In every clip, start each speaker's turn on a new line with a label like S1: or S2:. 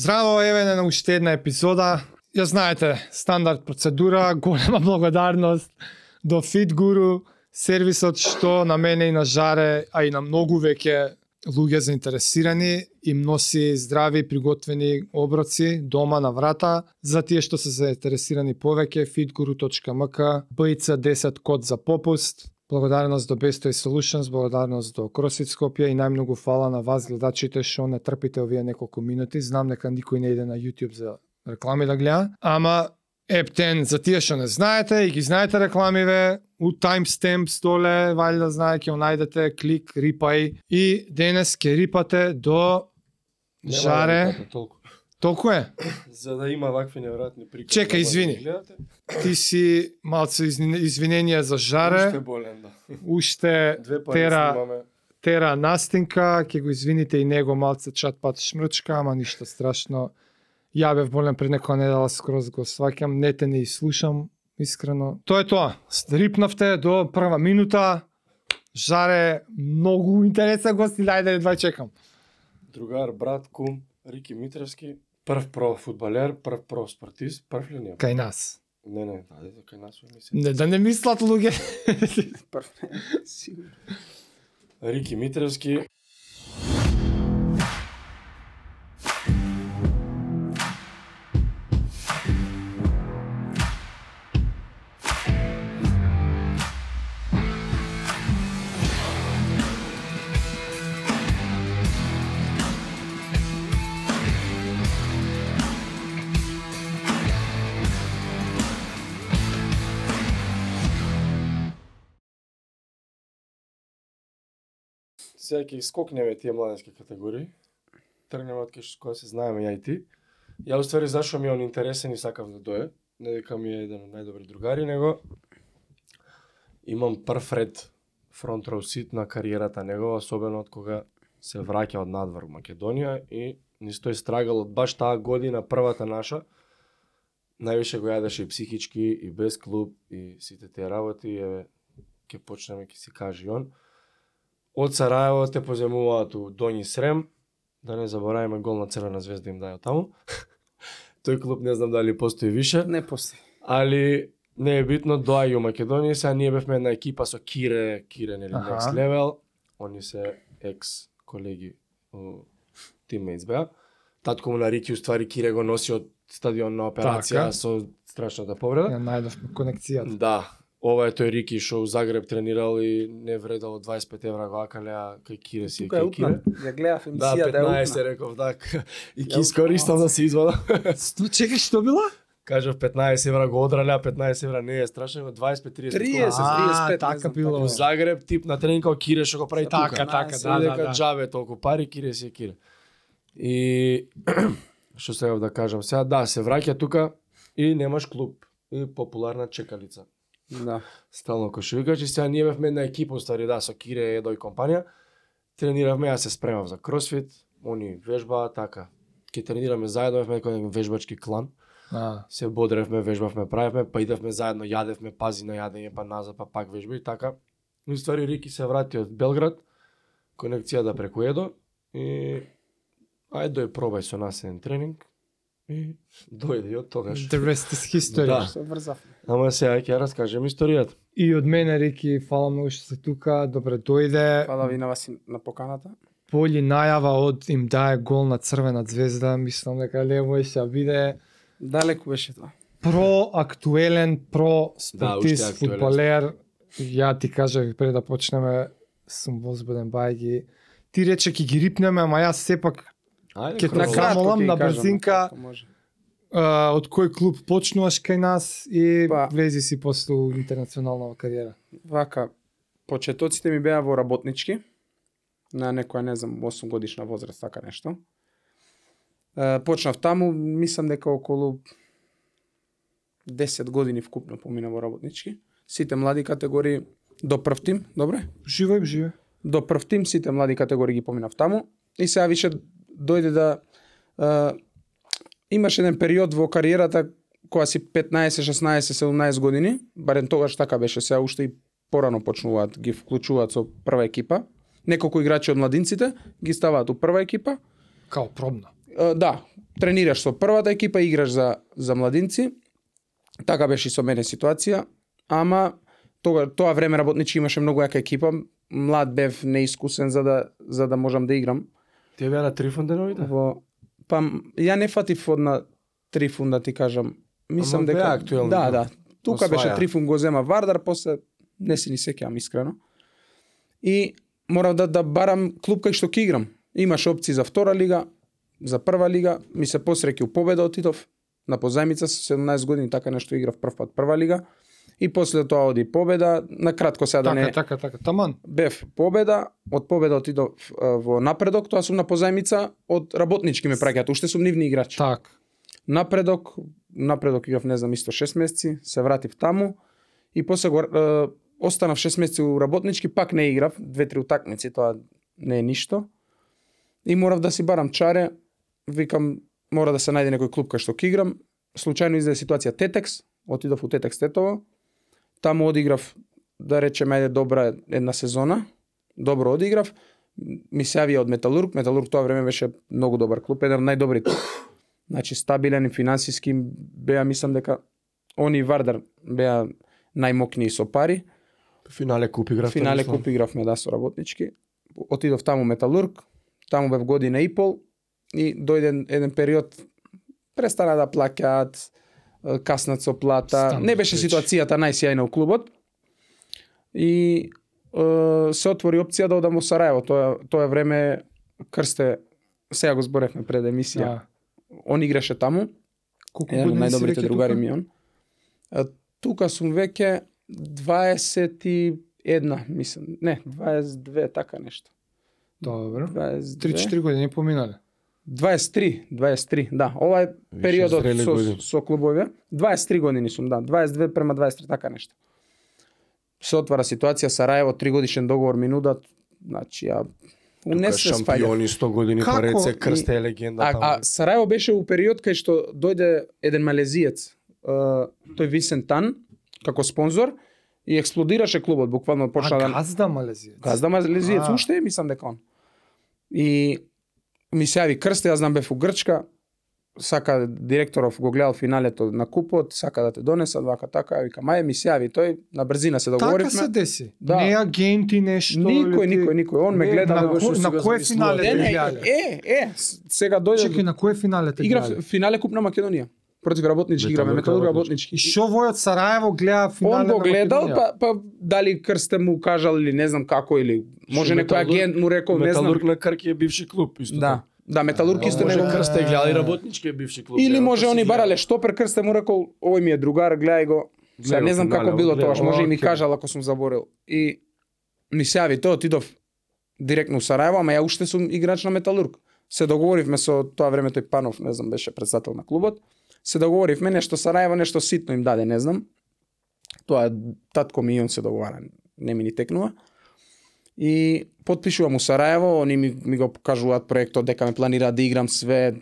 S1: Здраво, еве на уште една епизода. Ја знаете, стандард процедура, голема благодарност до Fit Guru, сервисот што на мене и на Жаре, а и на многу веќе луѓе заинтересирани им носи здрави приготвени оброци дома на врата. За тие што се заинтересирани повеќе, fitguru.mk, BIC10 код за попуст. Благодарност до Besto и Solutions, благодарност до CrossFit Скопје и најмногу фала на вас гледачите што не трпите овие неколку минути. Знам дека никој не иде на YouTube за реклами да гледа, ама Ептен, за тие што не знаете и ги знаете рекламиве, у timestamps доле, валјда знае, ќе го најдете, клик, рипај и денес ќе рипате до
S2: Нема да
S1: жаре.
S2: викате толку.
S1: Толку е?
S2: За да има вакви неверојатни прикази.
S1: Чека,
S2: да може
S1: извини.
S2: да ги гледате.
S1: Ти си малце изни- извинение за
S2: Уште
S1: жаре,
S2: болен, да.
S1: уште
S2: Две пари
S1: Тера.
S2: снимаме.
S1: Тера Настинка, ќе го извините и него малце чат пат шмрчка, ама ништо страшно. Ја бев болен пред некоја недела скроз го сваќам, не те не и слушам, искрено. Тоа е тоа. Стрипнавте до прва минута. Жаре, многу интересен гости, дајде едва да чекам.
S2: Другар, брат, кум, Рики Митревски. Прв про фудбалер, прв про спортист, прв ли не?
S1: Кај нас.
S2: Не, не, даде кај нас мислам.
S1: Не да не мислат луѓе.
S2: Прв. Рики Митревски. Сега ќе скокнеме тие младенски категории. Тргнеме од кај што која се знаеме ја и ти. Ја уствари зашо ми е он интересен и сакав да дое. Не дека ми е еден од најдобри другари, него имам прв ред фронт роу сит на кариерата негова, особено од кога се враќа од надвор во Македонија и ни стои страгал од баш таа година првата наша. Највише го јадеше и психички, и без клуб, и сите тие работи, и еве, ќе почнеме, ќе си каже и он од Сараево те поземуваат у Доњи Срем, да не забораваме гол на Црвена звезда им даја таму. Тој клуб не знам дали постои више,
S3: Не постои.
S2: али не е битно, доаѓа у Македонија, сега ние бевме една екипа со Кире, Кире нели
S1: Аха.
S2: Next Level, они се екс колеги у тиммейтс беа. Татко му на Рики уствари Кире го носи од стадион на операција
S1: Така.
S2: со страшната повреда.
S1: Ја најдовме конекцијата.
S2: Да, ова е тој Рики што у Загреб тренирал и не вредал 25 евра го акалеа кај Кире си,
S3: Тука е
S2: кај Кире.
S3: утна. Ја гледав
S2: Да,
S3: емисија да е
S2: 15
S3: утна.
S2: реков, да. к- И
S3: Ја
S2: ќе искористам да се извадам.
S1: Чекај, што била?
S2: Кажав 15 евра го одралеа, 15 евра не е страшно, го 25
S3: 30,
S2: 30.
S3: 35,
S1: така
S3: не знам,
S1: било.
S2: У
S3: така.
S2: Загреб тип на тренинг као Кире што го прави тука.
S1: Така, така,
S2: Се
S1: да, да,
S2: дека
S1: да.
S2: джабе толку пари, Кире си е Кире. И што сега да кажам, сега да, се враќа тука и немаш клуб и популарна чекалица.
S3: Да.
S2: Стално кошевикач и сега ние бевме една екипа, стари да, со Кире, Едо и компанија. Трениравме, јас се спремав за кросфит, они вежбаа, така. Ке тренираме заедно, бевме некој вежбачки клан.
S1: А,
S2: Се бодревме, вежбавме, правевме, па идевме заедно, јадевме, пази на јадење, па назад, па пак вежби и така. И ствари Рики се врати од Белград, конекцијата преку Едо и ајде дој пробај со нас еден тренинг. И дојде и од тогаш.
S1: the rest is history.
S2: Да.
S3: Се врзав.
S2: Ама сега ќе ја раскажем историјата.
S1: И од мене, Рики, фала многу што си тука, добре дојде.
S3: Фала ви на вас и на поканата.
S1: Полји најава од им дае гол на Црвена звезда, мислам дека не можеше да биде
S3: Далеку беше тоа.
S1: проактуелен, про спортист,
S2: Да, уште актуелен.
S1: фудбалер. Ја ти кажав и пред да почнеме, сум возбуден бајги. Ти рече ќе ги рипнеме, ама јас сепак
S2: Ајде,
S1: Ке
S2: кроз.
S1: Прво. така- Само лам
S3: ќе
S1: на
S3: ја кажам,
S1: брзинка.
S3: накратко може.
S1: а, од кој клуб почнуваш кај нас и
S3: Па.
S1: влези си после у интернационална кариера.
S3: Вака, почетоците ми беа во работнички, на некоја, не знам, 8 годишна возраст, така нешто. Е, почнав таму, мислам дека околу 10 години вкупно помина во работнички. Сите млади категории до прв тим, добре?
S1: Живај, живај.
S3: до прв тим сите млади категории ги поминав таму и сега више дојде да е, имаш еден период во кариерата кога си 15, 16, 17 години, барем тогаш така беше, сега уште и порано почнуваат, ги вклучуваат со прва екипа. Неколку играчи од младинците ги ставаат у прва екипа.
S1: Као пробна.
S3: Е, да, тренираш со првата екипа, играш за, за младинци. Така беше и со мене ситуација. Ама тога, тоа време работничи имаше многу јака екипа. Млад бев неискусен за да, за да можам да играм.
S2: Тие беа на Трифонденовите?
S3: Во... Па, м, ја не фатив од на Трифун, да ти кажам. Мислам
S2: Ама беа
S3: дека...
S2: актуелни,
S3: да,
S2: да.
S3: да. Тука беше
S2: Осваја.
S3: Трифун го зема Вардар, после не си ни сеќавам искрено. И морав да да барам клуб кај што ќе играм. Имаше опции за втора лига, за прва лига, ми се посреќи у победа отидов на позајмица со 17 години така нешто играв прв пат прва лига и после тоа оди победа, на кратко сега да
S1: Така,
S3: не
S1: така, така. Таман.
S3: бев победа, од победа отидов е, во напредок, тоа сум на позајмица од работнички ме праќаат, уште сум нивни играч.
S1: Так.
S3: Напредок, напредок играв не знам исто 6 месеци, се вратив таму и после го е, останав 6 месеци у работнички, пак не играв, две-три утакмици, тоа не е ништо. И морав да си барам чаре, викам мора да се најде некој клуб кај што ќе играм. Случајно излезе ситуација Тетекс, отидов у Тетекс Тетово. Таму одиграв да речеме ајде добра една сезона. Добро одиграв. Ми се јавија од Металург, Металург тоа време беше многу добар клуб, еден од најдобрите. Значи стабилен и финансиски беа мислам дека они и Вардар беа најмокни со пари.
S2: Финале куп игра.
S3: Финале куп игравме да со работнички. Отидов таму Металург, таму бев година и пол и дојде еден период престана да плаќаат, е, каснат со плата.
S1: Стандард
S3: не беше
S1: речи.
S3: ситуацијата најсјајна у клубот. И е, се отвори опција да одам во Сараево. Тоа тоа време Крсте сега го зборевме пред емисија.
S1: Да.
S3: Он играше таму.
S1: Колку
S3: Еден од
S1: години си
S3: најдобрите
S1: реке
S3: другари
S1: тука?
S3: ми е он. А, Тука сум веќе 21, мислам. Не, 22, така нешто.
S1: Добро.
S3: 23,
S1: 3-4 години поминале.
S3: 23, 23, да. Ова е
S2: Више
S3: периодот
S2: зрели
S3: со,
S2: години.
S3: со клубове. 23 години сум, да. 22 према 23, така нешто. Се отвара ситуација Сараево, тригодишен договор ми нудат. Значи, ја... Не се спаѓа.
S2: шампиони 100 години
S1: Како?
S2: по реце, крсте е легенда
S3: А,
S2: таму.
S3: а Сараево беше у период кај што дојде еден малезиец, а, тој Висент Тан, како спонзор, и експлодираше клубот, буквално почна
S1: а,
S3: да...
S1: газда малезијец.
S3: Газда малезиец,
S1: А.
S3: уште е, мислам дека он. И ми се јави крсте, јас знам бев у Грчка, сака директоров го гледал финалето на купот, сака да те донесат, вака така, ја вика, маје ми се јави, тој на брзина се
S1: Така
S3: договоривме.
S1: се деси.
S3: Да.
S1: Не агенти нешто.
S3: Никој,
S1: или ти- да,
S3: никој, никој, он ме
S2: Не,
S3: гледа
S1: на,
S3: на
S2: го-
S1: ко,
S2: што си
S1: на
S2: го
S1: кое
S2: замислувал.
S1: финале
S3: Не,
S1: те
S3: не,
S1: гледале?
S3: е, е, с- сега дојде
S1: Чекај, на кое финале те
S3: игра
S1: гледале?
S3: финале куп на Македонија. Против работнички играме,
S2: Металург
S3: Металург
S1: И
S3: работнички.
S1: шо војот Сараево гледа финале
S3: Он го
S1: на
S3: гледал,
S1: Македонија?
S3: па, па дали крсте му кажал или не знам како, или може
S2: Шо,
S3: некој
S2: Металург-
S3: агент му рекол, не знам.
S2: Металург на Крки е бивши клуб, исто
S3: Да, да, Металург
S2: така.
S3: исто
S2: може
S3: него.
S2: крсте гледа и работнички е бивши клуб.
S3: Или
S2: гледал,
S3: може
S2: па си
S3: они
S2: гледал.
S3: барале штопер крсте му рекол, овој ми е другар, гледај го. Сега
S2: Гледал
S3: не знам
S2: финале,
S3: како било
S2: гледал.
S3: тоа, може и ми
S2: Океј.
S3: кажал ако сум заборел. И ми се јави тоа, отидов директно у Сараево, ама ја уште сум играч на Металург. Се договоривме со тоа време тој Панов, не знам, беше председател на клубот. Се договоривме нешто Сараево, нешто ситно им даде, не знам. Тоа татко ми и он се договара, не ми ни текнува. И потпишувам у Сараево, они ми, ми го покажуваат проектот дека ме планира да играм све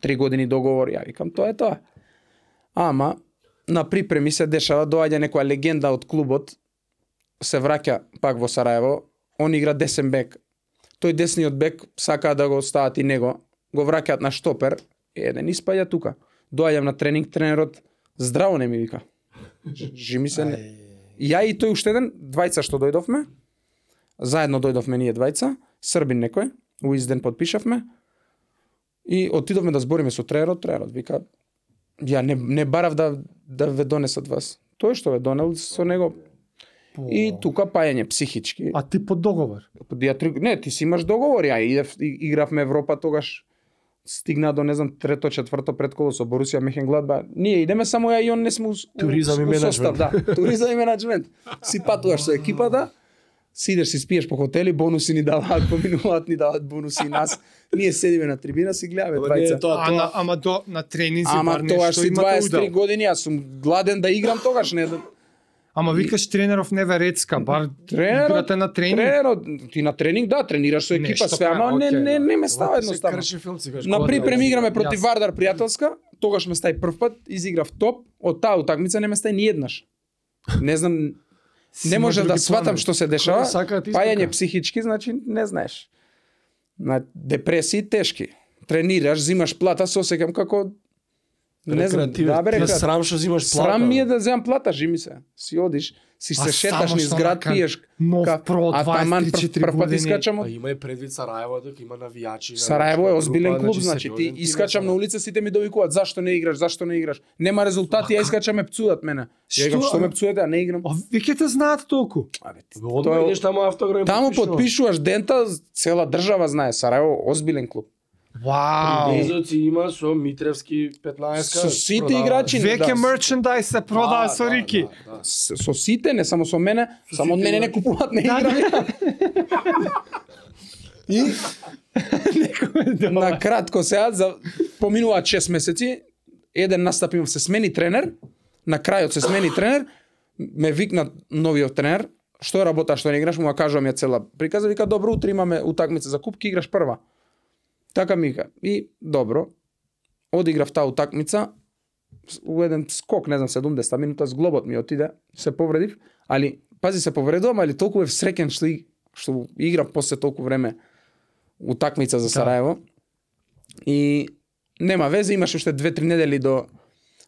S3: три години договор, ја викам тоа е тоа. Ама на припреми се дешава доаѓа некоја легенда од клубот се враќа пак во Сараево, он игра десен бек. Тој десниот бек сака да го остават и него, го враќаат на штопер, еден испаѓа тука. Доаѓам на тренинг, тренерот здраво не ми вика. Ж- Жи ми се не. Ја и тој уште еден, двајца што дојдовме, заедно дојдовме ние двајца, србин некој, у изден подпишавме, и отидовме да збориме со тренерот, тренерот вика, ја не, не барав да, да ве донесат вас. Тој што ве донел со него,
S1: По-
S3: и тука пајање психички.
S1: А ти под договор?
S3: Ја три... Не, ти си имаш договор, ја идев, и- игравме Европа тогаш, стигна до, не знам, трето, четврто предколо со Борусија Мехенгладба. Ние идеме, само ја и он не сме у,
S2: Туризам и
S3: у, у состав.
S2: менаџмент.
S3: Да, туризам и менаџмент. Си патуваш со екипата, си идеш, си спиеш по хотели, бонуси ни даваат, поминуваат ни даваат бонуси и нас. Ние седиме на трибина, си гледаме
S2: Ама не е
S3: двајца.
S2: тоа,
S1: а, на, ама до, на тренинзи
S3: Ама
S1: бар
S3: тоа
S1: нешто
S3: си
S1: имате
S3: 23
S1: удел.
S3: години, јас сум гладен да играм тогаш, не да...
S1: Ама викаш тренеров не ве рецка, бар
S3: Тренерот-
S1: играте на тренинг.
S3: Тренерот, ти на тренинг, да, тренираш со екипа,
S1: Нешто
S3: све, ама
S1: прави,
S3: не,
S1: окей,
S3: не,
S1: да.
S3: не ме става
S2: Лако се
S3: едноставно.
S2: крши филци, кажеш,
S3: На
S2: кога
S3: припреми
S2: дојде?
S3: играме против
S1: Јасно.
S3: Вардар пријателска, тогаш ме стај прв пат, изиграв топ, од таа утакмица не ме стај ни еднаш. Не знам,
S1: Си
S3: не
S1: има
S3: може да
S1: други
S3: сватам
S1: планови.
S3: што се дешава.
S2: Кој сака, ти
S3: Пајање
S2: сака.
S3: психички, значи не знаеш. На депресии тешки. тренираш, зимаш плата, се осеќам како не знам,
S2: Рекреативен.
S3: да бе,
S2: Ти е
S3: рекреативен.
S2: срам што взимаш плата.
S3: Срам ми е да земам плата, жи ми се. Си одиш, си
S1: А
S3: се шеташ
S1: само
S3: низ
S1: што
S3: град,
S1: накан-
S3: пиеш.
S1: нов
S3: ка-
S1: про
S3: а
S1: 23
S3: таман прв,
S1: години.
S3: прв пат искачам
S2: Па
S3: од...
S2: има и предвид Сараево дека има навијачи.
S3: Сараево е
S1: да,
S2: навијачка
S3: озбилен
S2: група,
S3: клуб, значи ти
S2: сериозен тим е
S3: искачам на
S2: тоа.
S3: улица, сите ми довикуваат зашто не играш, зашто не играш. Нема резултати, ја искачам ме пцуат мене. Ја викам
S1: Што?
S3: што ме пцуете, а не играм.
S1: А веќе те знаат толку.
S3: Абе, ти-
S2: Одма
S3: Тоа е-
S2: идеш таму автограм. и
S3: Таму
S2: подпишува.
S3: подпишуваш дента, цела држава знае, Сараево озбилен клуб.
S1: Вау.
S2: Близоци има со Митревски 15
S3: Со сите
S2: продава.
S3: играчи.
S1: Веќе
S3: да.
S1: мерчендајз се продава
S2: Да,
S1: со
S2: да,
S1: Рики.
S2: да, да.
S3: С- Со сите, не само со мене, само од
S2: сите,
S3: мене
S2: да.
S3: не купуваат, не играм. И на кратко сега за поминуваат 6 месеци, еден настап имав се смени тренер, на крајот се смени тренер, ме викна новиот тренер, што ја работа, што не играш, му ја кажувам ја цела приказа, вика добро, утре имаме утакмица за куп, ки играш прва. Така ми вика. И добро, одиграв таа утакмица, с- у еден скок, не знам, 70 минута, зглобот ми отиде, се повредив, али, пази се повредувам, али толку бев среќен што, и- што играв после толку време утакмица за Сараево. И нема везе, имаше уште 2-3 недели до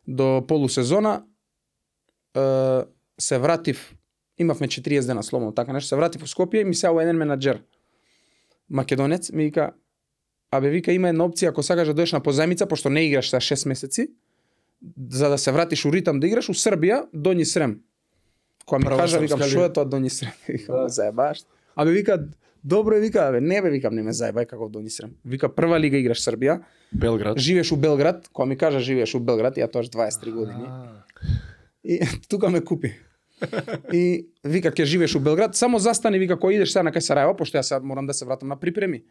S3: до полусезона. Е, се вратив, имавме 40 дена слободно, така нешто, се вратив у Скопје и ми сеа еден менаџер македонец ми вика Абе, вика, има една опција, ако сакаш да дојдеш на позајмица, пошто не играш сега 6 месеци, за да се вратиш у ритам да играш, у Србија, Доњи Срем. Која ми
S2: Прва
S3: кажа, викам,
S2: српска
S3: што е
S2: лига.
S3: тоа Доњи Срем? Викам,
S2: Да.
S3: да. заебаш. Абе, вика, добро е, вика, абе, не бе, викам, не ме заебај како Доњи Срем. Вика, прва лига играш Србија,
S2: Белград.
S3: живееш у Белград, која ми кажа живееш у Белград, ја тоаш 23 години. И тука ме купи. И вика ќе живееш у Белград, само застани вика кој идеш сега на кај Сараево, пошто јас сега морам да се вратам на припреми.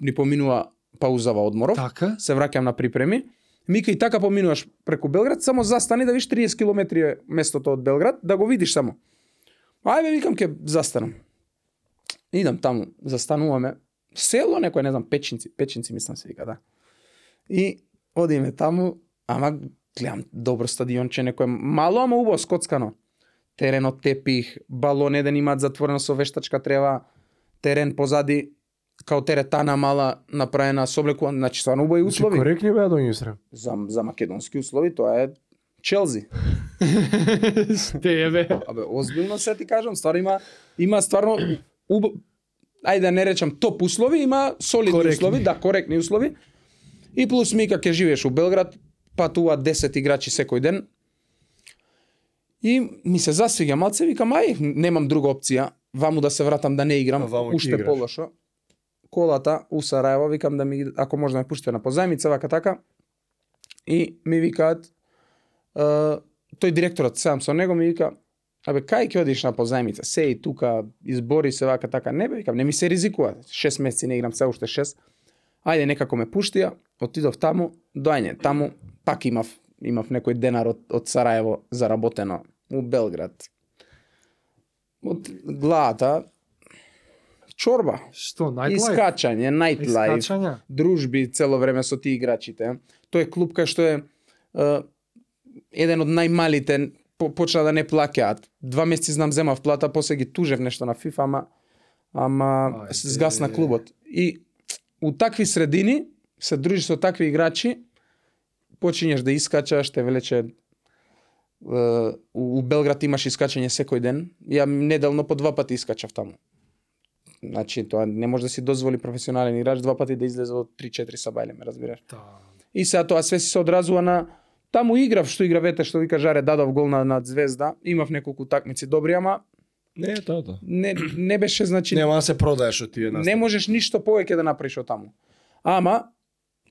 S3: Ни поминува паузава одморов,
S1: Така?
S3: се враќам на припреми. Мика и така поминуваш преку Белград, само застани да виш 30 километри е местото од Белград, да го видиш само. Ајде викам ќе застанам. Идам таму, застануваме. Село некој, не знам, Печинци, Печинци мислам се вика, да. И одиме таму, ама гледам добро стадионче, некој мало, ама убаво скоцкано. Теренот тепих, балон еден имаат затворено со вештачка трева, терен позади као теретана мала направена со облекуван, значи стварно убави услови.
S2: Коректни беа до Јусрем.
S3: За, за македонски услови тоа е Челзи.
S1: Ще е бе.
S3: Абе, озбилно се ти кажам, стварно има има стварно уб... ајде да не речам топ услови, има солидни
S1: Коректни.
S3: услови, да, коректни услови. И плюс ми ќе живееш у Белград, патува 10 играчи секој ден. И ми се засвига малце, викам, ај, немам друга опција, ваму да се вратам да не играм,
S2: А ваму ќе
S3: уште
S2: играш.
S3: полошо. Колата у Сараево, викам да ми, ако може да ме пуштите на позајмица, вака така. И ми викаат, е, тој директорот сам со него ми вика, абе кај ќе одиш на позајмица? Се и тука избори се вака така. Не бе, викам, не ми се ризикува. 6 месеци не играм, се уште 6. Ајде некако ме пуштија, отидов таму, доаѓање таму, пак имав имав некој денар од, од Сараево заработено у Белград. Од главата чорба,
S1: Што, најглај?
S3: искачање, најтлајф
S1: Искачања?
S3: дружби цело време со тие играчите. Тој е клуб кај што е, е еден од најмалите, по, почна да не плаќаат. Два месеци знам земав плата, после ги тужев нешто на FIFA, ама ама
S2: Ајде.
S3: се згасна клубот. И у такви средини се дружиш со такви играчи, почињеш да искачаш, те велече е, у, у Белград имаш искачање секој ден. Ја неделно по два пати искачав таму. Значи, тоа не може да си дозволи професионален играч два пати да излезе од 3-4 сабајле, ме разбираш.
S1: Да.
S3: И сега тоа све си се одразува на таму играв што игравете што вика Жаре дадов гол на над Звезда, имав неколку такмици добри, ама
S2: Не, тоа да.
S3: не не беше значи
S2: Нема да се продаеш од тие
S3: не можеш ништо повеќе да направиш од таму. Ама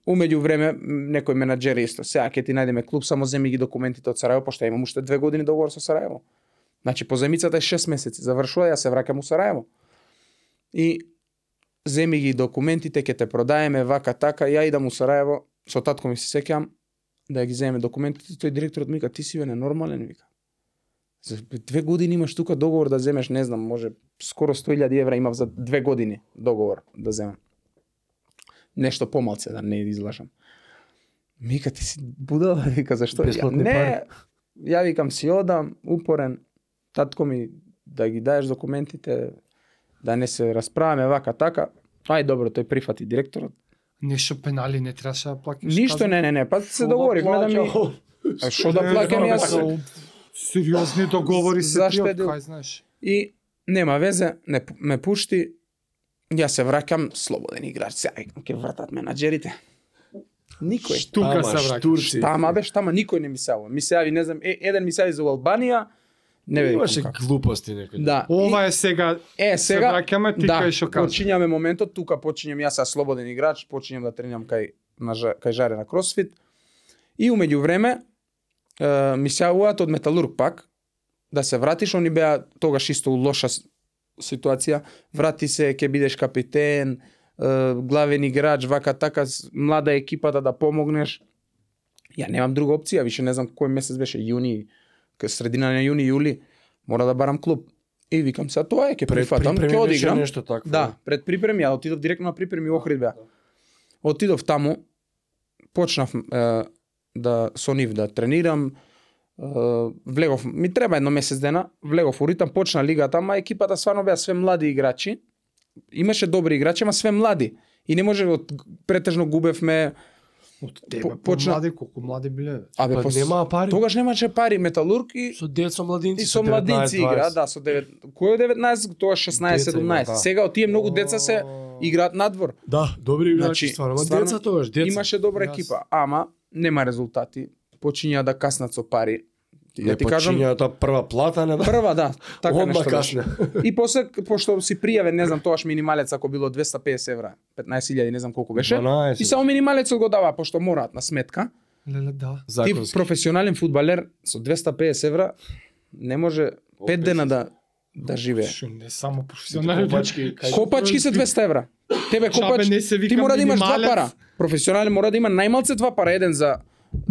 S3: умеѓу време м, некој менаџер исто, сега ќе ти најдеме клуб, само земи ги документите од Сараево, пошто имам уште две години договор со Сараево. Значи поземицата е 6 месеци, завршува, јас се враќам у Сараево. И земи ги документите, ќе те продаеме вака така, ја идам у Сараево, со татко ми се сеќам да ги земеме документите, тој директорот ми вика ти си бе ненормален вика. За две години имаш тука договор да земеш, не знам, може скоро 100.000 евра имав за две години договор да земам. Нешто помалце да не излажам. Мика ти си будала, вика зашто? Ја,
S2: Бесплатни
S3: не, ја викам си одам, упорен, татко ми да ги даеш документите, да не се расправаме вака така. Ај добро, тој прифати директорот.
S1: Нещо пенали не трябваше да плакаш.
S3: Ништо не, не, не, па се
S2: да
S3: договори, гледам и... А што да плакам јас?
S1: така, Сериозни договори се
S3: Зашто е
S1: триот,
S3: дел-
S1: кај знаеш.
S3: И нема везе, не, пу- ме пушти, јас се враќам слободен играч, сега викам, ќе вратат менаџерите. Никој.
S1: Штука се враќаш.
S2: Турци.
S3: Тама беше, тама никој не ми се јави. Ми се јави, не знам, е, еден ми се јави за Албанија, не бе
S2: Имаше
S3: викам како.
S2: глупости некој.
S3: Да.
S1: Ова е сега,
S3: И- е,
S1: се
S3: сега,
S1: враќаме ти
S3: да,
S1: кај што кажа.
S3: почињаме моментот, тука почињам јас са слободен играч, почињам да тренирам кај на жа- кај жаре на кросфит. И умеѓу време е, ми се јавуваат од Металург пак да се вратиш, они беа тогаш исто у лоша с- ситуација. Врати се, ќе бидеш капитен, е, главен играч, вака така, с- млада е екипата да помогнеш. Ја немам друга опција, више не знам кој месец беше, јуни, к- средина на јуни, јули, мора да барам клуб. И викам се, тоа е, ќе прифатам, ќе
S2: Предприпреми беше
S3: одиграм.
S2: нешто такво.
S3: Да, пред припреми, ја отидов директно на припреми во Охрид беа. Отидов таму, почнав е, да со нив да тренирам, е, влегов, ми треба едно месец дена, влегов у ритам, почна лигата, ама екипата сварно беа све млади играчи. Имаше добри играчи, ама све млади. И не може од претежно губевме,
S1: Од
S3: по-
S1: тебе
S3: почна-
S1: почна... колку млади биле.
S3: абе
S2: Па
S3: пос-
S2: нема пари.
S3: Тогаш немаше пари, металург и
S2: Со децо младинци.
S3: И со
S2: 19,
S3: младинци игра,
S2: 20.
S3: да, со 9. Кој е 19, тоа 16,
S2: Деца има,
S3: 17.
S2: да.
S3: Сега од тие многу деца се играат надвор.
S2: Да, добри играчи
S3: Значи,
S2: стварно. Ама
S3: стварно,
S2: деца тогаш, деца.
S3: Имаше добра
S1: Јас.
S3: екипа, ама нема резултати. Почиња да каснат со пари. Ти да ти кажам,
S2: почиња таа прва плата, не да.
S3: прва да, така
S2: Одма
S3: нешто беше.
S2: касне.
S3: И после пошто си пријавен, не знам, тогаш минималец ако било 250 евра, 15.000, не знам колку беше.
S2: 12.
S3: И само минималецот го дава, пошто мораат на сметка.
S1: Леле, да.
S3: Ти
S2: Законски.
S3: професионален фудбалер со 250 евра не може
S2: О,
S3: 5 дена
S2: песни.
S3: да да живее.
S1: Шо, не само професионални.
S2: Копачки, кај-
S3: Копачки се 200 евра. Тебе копач,
S1: Чабе, не се вика
S3: ти мора да имаш два
S1: минималец.
S3: пара. Професионален мора да има најмалце два пара, еден за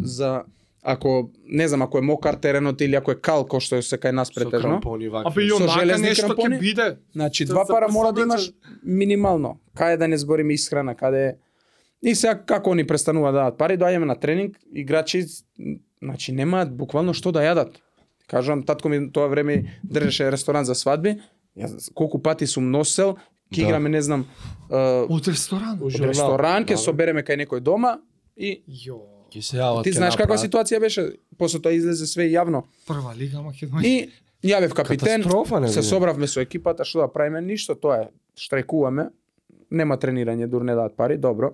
S3: за ако не знам ако е мокар теренот или ако е кал кој што се кај нас
S2: Со
S3: претежно.
S2: крампони вакви.
S1: Абе, и онака
S3: железни
S1: нешто
S3: крампони?
S1: ќе биде.
S3: Значи
S1: Се
S3: два пара
S1: запрсна
S3: мора да
S1: деца.
S3: имаш минимално. Каде да не збориме исхрана, каде е- И сега како они престануваат да дадат пари, доаѓаме на тренинг, играчи значи немаат буквално што да јадат. Кажувам, татко ми тоа време држеше ресторан за свадби. Јас колку пати сум носел,
S2: Да.
S3: ќе играме не знам е,
S1: Од ресторан.
S2: У
S3: од
S2: журнал.
S3: ресторан, ќе
S2: Да, бе.
S3: собереме кај некој дома и
S1: Јо,
S2: Ќе се јават.
S3: ти
S2: ќе
S3: знаеш каква
S2: направат.
S3: ситуација беше, после тоа излезе све јавно.
S1: прва лига Македонија.
S3: И ја бев капитен,
S2: Катастрофа, не
S3: се
S2: бе?
S3: собравме со екипата, што да правиме, ништо, тоа е, штрајкуваме, нема тренирање, дур не дадат пари, добро.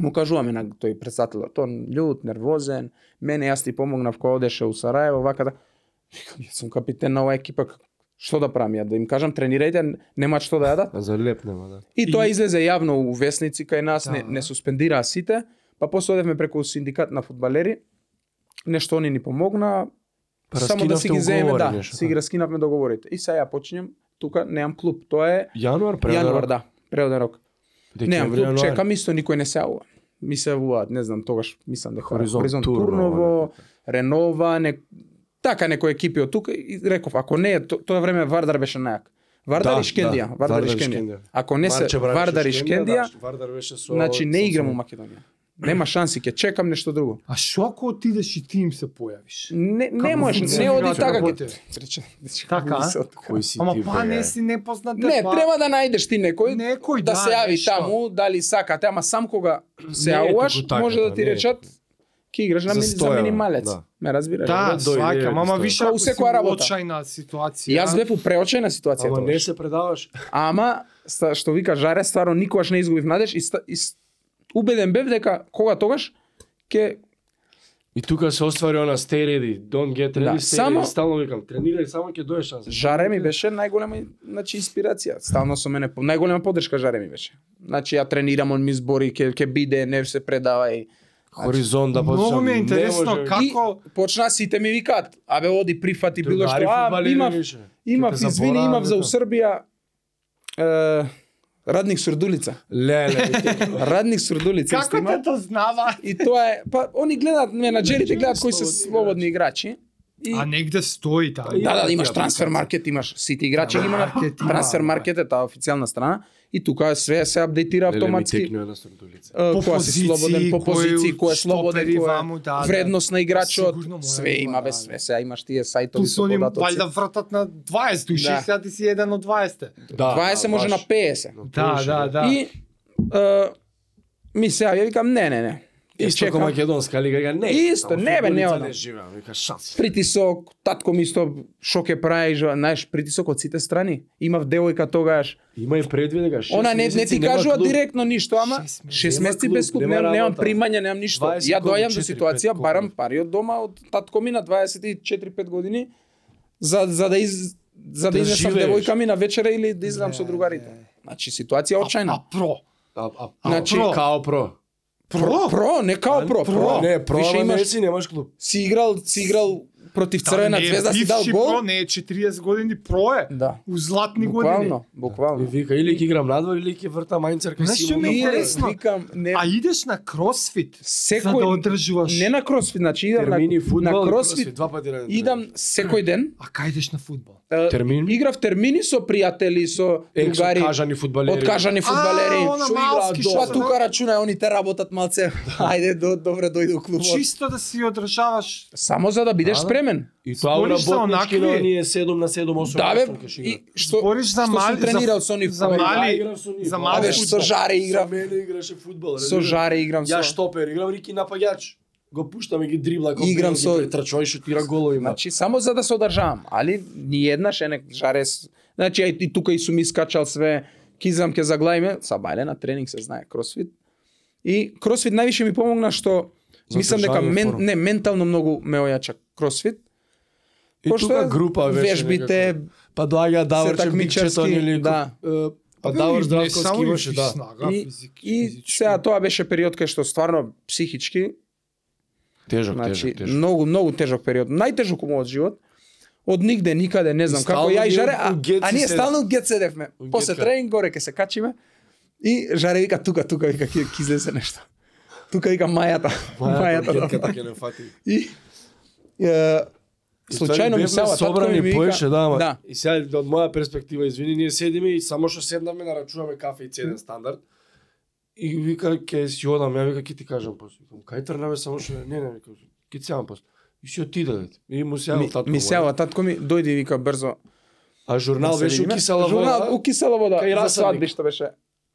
S3: Му кажуваме на тој председателот, он љут, нервозен, мене јас ти помогнав кога одеше у Сараево, вака да. Викам, Јас сум капитен на оваа екипа, што да правам ја, да им кажам тренирајте, немаат што да јадат.
S2: А За леп нема, да.
S3: И тоа излезе јавно у весници кај нас, не,
S1: Да.
S3: не суспендираа сите, па после одевме преку синдикат на фудбалери. Нешто они ни помогна,
S2: Па
S3: само да си ги
S2: раскинавте
S3: земеме,
S2: уговори,
S3: да,
S2: нешто,
S3: си ги
S2: да.
S3: раскинавме договорите. И сега ја почињам, тука немам клуб, тоа е
S2: Јануар, преводен
S3: јануар,
S2: рок.
S3: да, преоден рок. Немам
S2: Декември,
S3: клуб,
S2: јануар.
S3: чекам исто никој не се јавува. Ми се јавуваат, не знам, тогаш мислам дека
S2: Хоризонт
S3: Хоризонт
S2: Турново,
S3: Турново, Ренова, не... така некои екипи од тука и реков, ако не е, то- тоа време Вардар беше најак. Вардар
S2: Да,
S3: и Шкендија,
S2: да,
S3: Вардар
S2: Вардар
S3: и
S2: и
S3: Шкендија.
S2: Шкендија.
S3: Ако не се
S2: Марче Бранче
S3: Вардар и Шкендија,
S2: да, Вардар беше со
S3: Значи не
S2: со-
S3: играм у Македонија. Нема шанси, ќе чекам нешто друго.
S1: А што ако отидеш и ти им се појавиш?
S3: Не, не можеш, не
S1: функционира
S3: оди
S1: тоа
S3: така.
S1: во
S3: ќе-
S1: тебе?
S3: Рече, рече,
S1: Така, а?
S3: се од-
S2: Кој си
S1: Ама
S2: ти,
S1: па
S2: бе?
S1: не си непознат
S3: Не,
S1: па-
S3: треба да најдеш ти некој,
S1: Некој,
S3: да,
S1: да,
S3: се јави
S1: нешто.
S3: таму, дали сакате, ама сам кога се
S2: Не е
S3: јавуваш,
S2: туку така,
S3: може да
S2: да,
S3: ти
S2: не е
S3: речат ќе играш на
S2: За
S3: мини- за,
S2: 100 евра,
S3: минималец.
S2: да.
S3: Ме разбираш?
S1: Да,
S2: Дојде, дојде,
S1: сваќам, ама
S2: дојде.
S1: више
S3: Како
S1: ако
S3: у
S1: си
S3: секоја
S1: у
S3: работа.
S1: очајна ситуација.
S3: да? Јас бев у преочајна ситуација
S2: Ама не
S3: тогаш.
S2: се предаваш.
S3: Ама, ста- што вика Жаре, стварно никогаш не изгубив надеж и, ста- и с- убеден бев дека кога тогаш ќе
S2: И тука се оствари она stay ready, don't get ready,
S3: Да,
S2: stay
S3: само-
S2: ready. Стално викам, тренирај, само ќе доеш шанса.
S3: Жаре ми беше најголема значи инспирација. Стално со мене по- најголема поддршка Жаре ми беше. Значи ја тренирам, он ми збори ќе ќе биде, не се предавај.
S2: Хоризонт
S3: Значи,
S2: да
S1: Многу ми е интересно
S2: како
S1: како
S3: И почна сите ми викаат, абе оди прифати било што, а имав имав
S2: Ќе те
S3: извини,
S2: заборавам,
S3: имав за у
S2: викам.
S3: Србија е, радник Сурдулица.
S2: Леле,
S3: Радник Сурдулица исто
S1: како
S3: има.
S1: те дознава?
S3: И тоа е, па они гледаат менаџерите гледаат кои се
S2: Слободни
S3: слободни играчи. И
S1: А негде стои таму.
S2: Ја,
S3: Да, да,
S2: ја,
S3: имаш
S2: ја,
S3: трансфер маркет, имаш сите играчи ги има на
S1: Маркет има, да.
S3: трансфер маркет е таа официјална страна и тука све се апдейтира
S2: Леле, ми
S3: автоматски.
S2: текнува една срдулица.
S3: Е,
S1: По
S3: која
S1: позиции,
S3: си слободен по
S1: кој
S3: позиции, кој е слободен,
S1: стопери ваму,
S3: кој
S1: да, да.
S3: е вредност на играчот,
S1: Сигурно мора да
S3: све
S1: има,
S3: има бе
S1: да,
S3: све,
S1: да.
S3: сега имаш тие сајтови
S1: Плюс
S3: со
S1: они
S3: податоци.
S1: валјда вратат на 20 души,
S3: Да.
S1: сега ти си еден од 20.
S2: Да,
S3: 20 може
S2: баш.
S3: на 50.
S1: Да, да, да.
S3: И е, Ми сега ја викам не, не, не. И
S2: Исто како
S3: чекам.
S2: Македонска лига, га не.
S3: Исто,
S2: Таму
S3: не, бе, не
S2: Фурболица
S3: одам.
S2: Не живеам, вика шанс.
S3: притисок, татко ми исто шок е прави, жа- знаеш, притисок од сите страни. Имав девојка тогаш.
S2: Има и предвид дека шест
S3: Она не, не
S2: месеци
S3: ти
S2: нема
S3: кажува
S2: клуб.
S3: директно ништо, ама
S1: Шест месеци.
S3: 6
S2: Нема
S3: месеци
S2: клуб,
S3: без клуб,
S2: нема
S3: немам, немам
S2: работа.
S3: примања, немам ништо.
S2: 20
S3: Ја
S2: колку,
S3: доаѓам до
S2: 4-5
S3: ситуација,
S2: колку?
S3: барам пари од дома од татко ми на 24-5 години за за да из за да,
S2: Да
S3: изнесам
S2: живееш.
S3: девојка ми на вечера или да излезам со
S1: Не,
S3: другарите. Значи ситуација
S1: А
S3: очајна.
S1: про.
S2: А, а, а,
S3: Значи-
S2: про. као про.
S3: Про, про, не као про, про.
S2: Не, про,
S3: Више
S2: ама
S3: имаш
S2: не си немаш клуб.
S3: си играл, си играл против Црвена
S1: Да, не е
S3: Звезда, си дал
S1: бивши
S3: гол.
S1: Про, не е 40 години, про е.
S3: Да.
S1: У златни години.
S3: Буквално,
S2: И
S3: буквално.
S2: вика, или ќе играм надвор, или ќе вртам мајнцар кај
S1: Знаеш што ми е
S3: Ние,
S1: интересно.
S3: Викам, не,
S1: А идеш на кросфит, за
S3: секој
S1: да одржуваш.
S3: не на кросфит, значи идам на,
S2: Термини, фудбал,
S3: на
S2: и
S3: кросфит,
S2: два пати реден.
S3: идам секој ден.
S1: А кај идеш на фудбал?
S3: е,
S2: Термин?
S3: Играв термини со пријатели, со
S2: Екс
S3: другари,
S2: откажани фудбалери.
S3: откажани фудбалери.
S1: А, она
S3: Што
S1: малски
S3: играат
S1: што
S3: дома?
S1: се
S3: Па тука рачунај, оните работат малце.
S1: Да.
S3: Ајде, до, добре дојде у клубот.
S1: Чисто да си одржаваш.
S3: Само за да бидеш
S2: Да, да.
S3: спремен.
S2: И тоа у
S1: Спориш со
S2: работнички на
S1: онакви?
S2: оние 7 на 7, 8
S3: Да бе,
S2: кеш игра.
S3: и што,
S1: Збориш за
S3: што
S1: мали-
S3: сум тренирал
S1: за-
S3: со нив.
S1: за
S3: па,
S1: мали-
S2: Ја играм со нив.
S1: за
S2: а,
S1: мал
S2: бе,
S3: Абе,
S1: фудбал.
S3: со жаре
S2: Со
S3: играм,
S2: мене играше фудбал.
S3: со
S2: разбираш?
S3: жаре играм.
S2: Ја
S3: со-
S2: штопер, играм Рики напаѓач. Го пуштаме ги дрибла, го
S3: Играм
S2: играм
S3: со-
S2: со трчој шутира голови. ма.
S3: Значи, само за да се одржавам, али ни еднаш ене жаре. с- Значи, ај и тука и сум искачал све, кизам ке заглаиме, сабајле на тренинг се знае кросфит. И кросфит највише ми помогна што
S2: За
S3: мислам дека
S2: одржавање
S3: мен,
S2: форма.
S3: не ментално многу ме ојача кросфит.
S2: И
S3: Пошто
S2: тука група веќе
S3: вежбите,
S2: некако. Па доаѓа Даворче
S3: Такмичарски,
S2: Бикчетон или...
S3: да.
S2: Е, Па
S1: Абе,
S2: Давор
S1: не, само
S2: Здравковски
S1: и
S2: имаше, да.
S1: снага,
S3: и,
S1: физик-
S3: и
S1: физички.
S3: сега тоа беше период кај што стварно психички
S2: Тежок,
S3: Значи, многу, многу тежок период. Најтежок му од живот. Од нигде, никаде, не знам
S2: И
S3: како.
S2: стално
S3: Ја и
S2: ние
S3: Жаре, а,
S2: у гет
S3: а
S2: си
S3: ние
S2: седев.
S3: стално гет седевме.
S2: У
S3: После
S2: гетка.
S3: тренинг горе ке се качиме. И Жаре вика тука, тука, вика ки, ки излезе нешто. Тука вика мајата.
S2: Па,
S3: мајата.
S2: Мајата,
S3: да.
S2: така ќе не фати.
S3: И е,
S2: И
S3: случајно
S2: ствари
S3: ми
S2: бевме
S3: сава татко ми
S2: собрани
S3: вика.
S2: поеше, да, ама.
S3: да.
S2: И сега од моја перспектива, извини, ние седиме и само што седнавме нарачуваме кафе и цеден стандард. И вика ќе си одам, ја вика ќе ти кажам после. Викам, Кај трнаме само што не, не, викам, ќе ти сеам после. И си отиде. дете. И му сеам
S3: Ми,
S2: татко.
S3: ми
S2: мој.
S3: сева татко ми дојде и вика брзо. Да
S2: А журнал
S3: се
S2: беше
S3: видиме.
S2: укисала
S3: Журнал у кисела
S2: да? Кај
S3: вода. За
S2: Расадник.
S3: свадби што беше.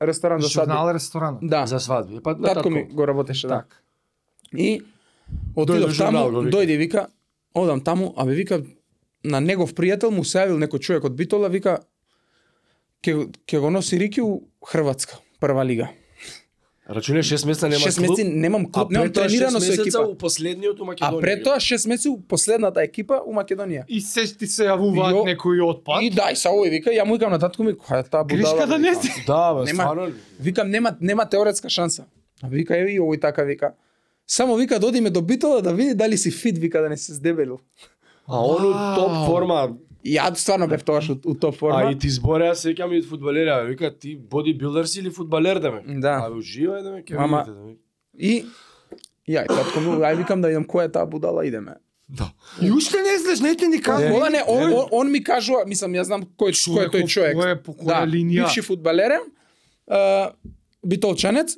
S3: Ресторан за свадби.
S1: Журнал ресторан.
S3: Да.
S2: за свадби. Па на
S3: Татко ми го работеше, да.
S1: Так.
S3: И
S2: Дојде
S3: отидов таму,
S2: журнал, го вика.
S3: дојде вика, одам таму, а бе вика на негов пријател му се јавил некој човек од Битола, вика ќе го- ќе го носи Рики у Хрватска, прва лига.
S2: Рачуне 6 месеца нема
S3: 6
S2: клуб.
S3: месеци немам клуб, немам тренирано со екипа.
S2: у последниот у
S3: А
S2: Македонија.
S3: пред тоа 6 месеци у последната екипа у Македонија.
S1: И се ти се
S3: Јо.
S1: јавуваат некои отпад.
S3: И да, и са овој вика, ја му викам на татко ми, која е таа будала?
S1: Гришка да не
S3: викам.
S1: си.
S2: Да, бе,
S3: Нема.
S2: стварно.
S3: Викам нема нема теоретска шанса. А вика еве и овој така вика. Само вика да одиме до Битола да види дали си фит, вика да не се здебелил.
S2: А он у топ форма.
S3: И Ја стварно бев тогаш у, у топ
S2: А
S3: форма.
S2: и ти збореа сеќам и фудбалери, а вика ти бодибилдер си или фудбалер да ме?
S3: Да.
S2: А бе, уживај да ме, ќе
S3: Ама-
S2: видите да ме.
S3: И ја и татко ми, ај викам да видам која е таа будала, идеме.
S2: Да.
S1: И уште не излез, не ти ни
S3: Е,
S1: кажа.
S3: Ова не, он, он, он ми кажува, мислам, ја знам кој кој е тој човек. Да.
S1: Кој е по која линија?
S3: бивши фудбалер е, е, битолчанец,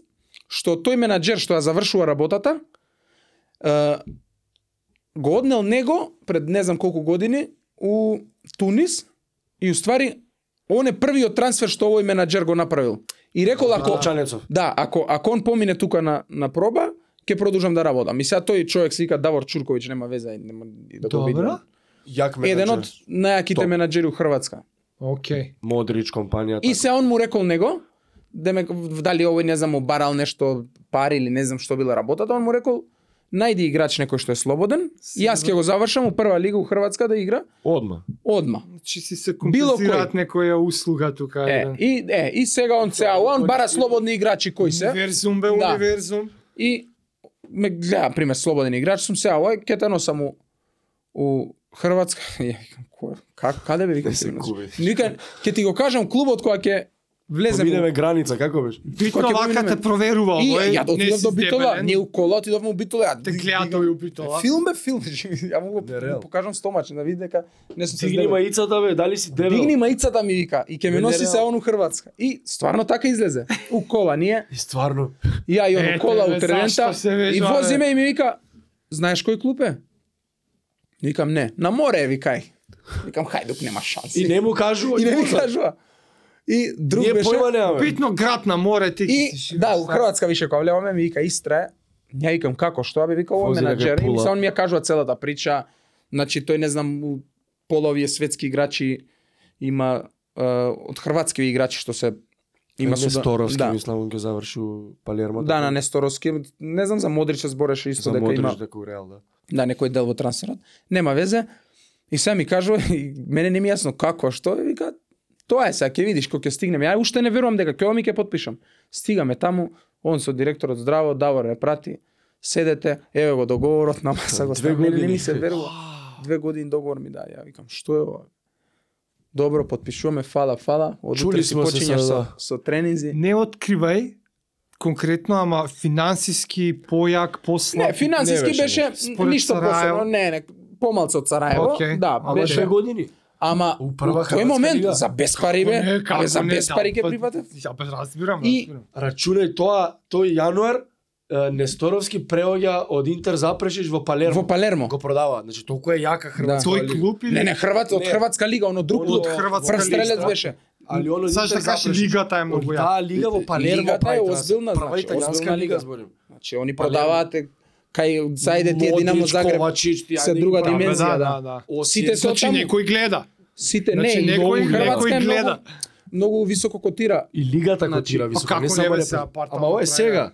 S3: што тој менаџер што ја завршува работата, е, го однел него пред не знам колку години у Тунис и уствари он е првиот трансфер што овој менаџер го направил. И рекол ако
S2: Колчанецов.
S3: Да, ако ако он помине тука на на проба, ќе продолжам да работам. И сега тој човек се вика Давор Чурковиќ, нема веза, и нема и да го види.
S1: Добро.
S2: Јак менеджер.
S3: Еден од најаките
S2: Топ.
S3: менаџери у Хрватска.
S1: Океј.
S2: Модрич така. компанијата.
S3: И се он му рекол него, деме дали овој не знам му барал нешто пари или не знам што била работата, он му рекол најди играч некој што е слободен, јас ќе го завршам у прва лига у Хрватска да игра
S2: Одма.
S3: одма.
S1: Значи си се
S3: Било
S1: компензираат некоја услуга тука.
S3: Е,
S1: еден.
S3: и е, и сега он се он бара слободни играчи кои се.
S1: Универзум бе,
S3: Да.
S1: универзум.
S3: И ме гледа, пример, слободен играч сум сега, ој, ке те носам у, у Хрватска. И Ја викам, кој, как, каде бе, викам, се
S2: губи.
S3: Ника, ке ти го кажам клубот која ќе влеземе.
S2: Поминеме граница, како беше?
S1: Битно
S3: Кој ќе
S1: вака
S3: поминеме?
S1: те проверува.
S3: И
S1: ој,
S3: ја
S1: не
S3: отидов
S1: си
S3: до Битола,
S1: здебелен.
S3: ние у кола отидовме у Битола. ја
S1: Те
S3: дигам-
S1: гледа тој у Битола.
S3: Филм бе, филм. значи, Ја му го
S2: Нереално.
S3: покажам стомачен да види дека не сум се
S2: Дигни
S3: здебел.
S2: маицата бе, дали си дебел?
S3: Дигни маицата ми вика и ќе ме
S2: Бе,
S3: носи се
S2: нереално.
S3: он у Хрватска. И стварно така излезе. У кола ние
S2: И стварно.
S3: Ја и
S1: Ете,
S3: оно кола
S1: бе,
S3: у Тревента
S1: зашто се вежа,
S3: и
S1: бе?
S3: возиме и ми вика, знаеш кој клуб е? Викам не, на море е, викај. Викам хај док нема шанси.
S2: И не му кажува.
S3: и не ми
S2: никога.
S3: кажува. И друг
S2: Ние
S3: беше...
S2: појма немаме.
S1: Битно град на море, ти
S3: И
S1: ќе си
S3: да, у
S1: сад.
S3: Хрватска више кога влеваме ми вика Истра. Ја викам како, што би викал овој
S4: Вози да
S3: менаџер,
S4: га
S3: и
S4: пула.
S3: се он ми ја кажува целата прича. Значи тој не знам у пола овие светски играчи има е, од хрватски играчи што се има суда-
S4: Несторовски,
S3: да.
S2: мислам, он ќе завршил
S4: Па
S2: Палермо.
S3: Да, на Несторовски, не знам за Модрича збореше исто
S2: Исто
S3: дека има
S2: дека у Реал, да.
S3: да некој дел во трансферот. Нема везе. И сега ми кажува, и мене не ми е јасно како, што, и вика, тоа е сега, ќе видиш кој ќе стигнеме. Ја уште не верувам дека ќе ми ќе подпишам. Стигаме таму, он со директорот здраво, Давор ме прати, седете, еве го договорот на маса го
S4: Две
S3: ставили, не
S4: години.
S3: ми се верува. Две години договор ми даде. Ја викам, што е ова? Добро, подпишуваме, фала, фала. Од
S4: Чули
S3: утре си
S4: смо се
S3: почињаш со,
S4: сега.
S3: со тренинзи.
S1: Не откривај конкретно, ама финансиски појак, послаб.
S3: Не, финансиски
S2: беше
S3: беше,
S1: Според
S3: ништо
S1: Сараево.
S3: посебно, не, не, помалце од Сараево,
S1: Океј,
S3: да,
S1: ама
S3: беше
S1: Две
S2: години.
S3: Ама
S2: У прва
S3: у тој
S2: хрватска
S3: момент
S2: лига.
S3: за без пари бе,
S1: Па Не,
S3: абе,
S1: како
S3: за
S1: не,
S3: без
S1: да,
S3: пари ќе
S1: па,
S3: прифатев.
S1: Ја бе, разбирам,
S3: И-
S1: разбирам.
S2: Рачунај тоа, тој јануар е, Несторовски преоѓа од Интер Запрешиш во Палермо.
S3: Во Палермо. Да.
S2: Го продава. Значи толку е јака хрватска.
S1: Тој
S2: лига.
S1: клуб или
S3: Не, не, Хрват, од
S2: Не.
S3: Хрватска лига, оно друго.
S2: Од Хрватска
S3: прстрелец
S2: лига. да.
S3: беше.
S2: Али он од
S1: Саш да
S2: Интер
S1: кажеш
S2: Запрешиш.
S1: лигата е многу јака.
S2: Таа лига во Палермо
S3: Лигата е
S2: прави трансфер.
S3: озбилна,
S2: Прва
S3: значи,
S2: италијанска
S3: озбилна лига.
S2: зборим.
S3: Значи, они
S2: Палермо.
S3: продаваат е, кај зајде тие Динамо
S2: Модрич,
S3: Загреб.
S2: Ковачич, тие
S3: се
S2: ајде ги
S3: друга
S2: правиме.
S1: Да, да,
S3: димензија,
S1: да,
S3: да.
S1: да.
S3: Сите се
S1: Значи
S3: таму.
S1: некој гледа.
S3: Сите, не,
S1: Значи,
S3: и
S1: некој-
S3: многу-
S1: некој
S3: Хрватска е
S1: гледа.
S3: многу- Многу високо котира.
S2: И лигата
S3: Значи,
S2: котира
S1: па
S2: високо.
S1: како
S2: не само
S1: не бе
S2: лепо.
S1: се апартамент
S2: Ама ова е
S1: прави,
S2: сега.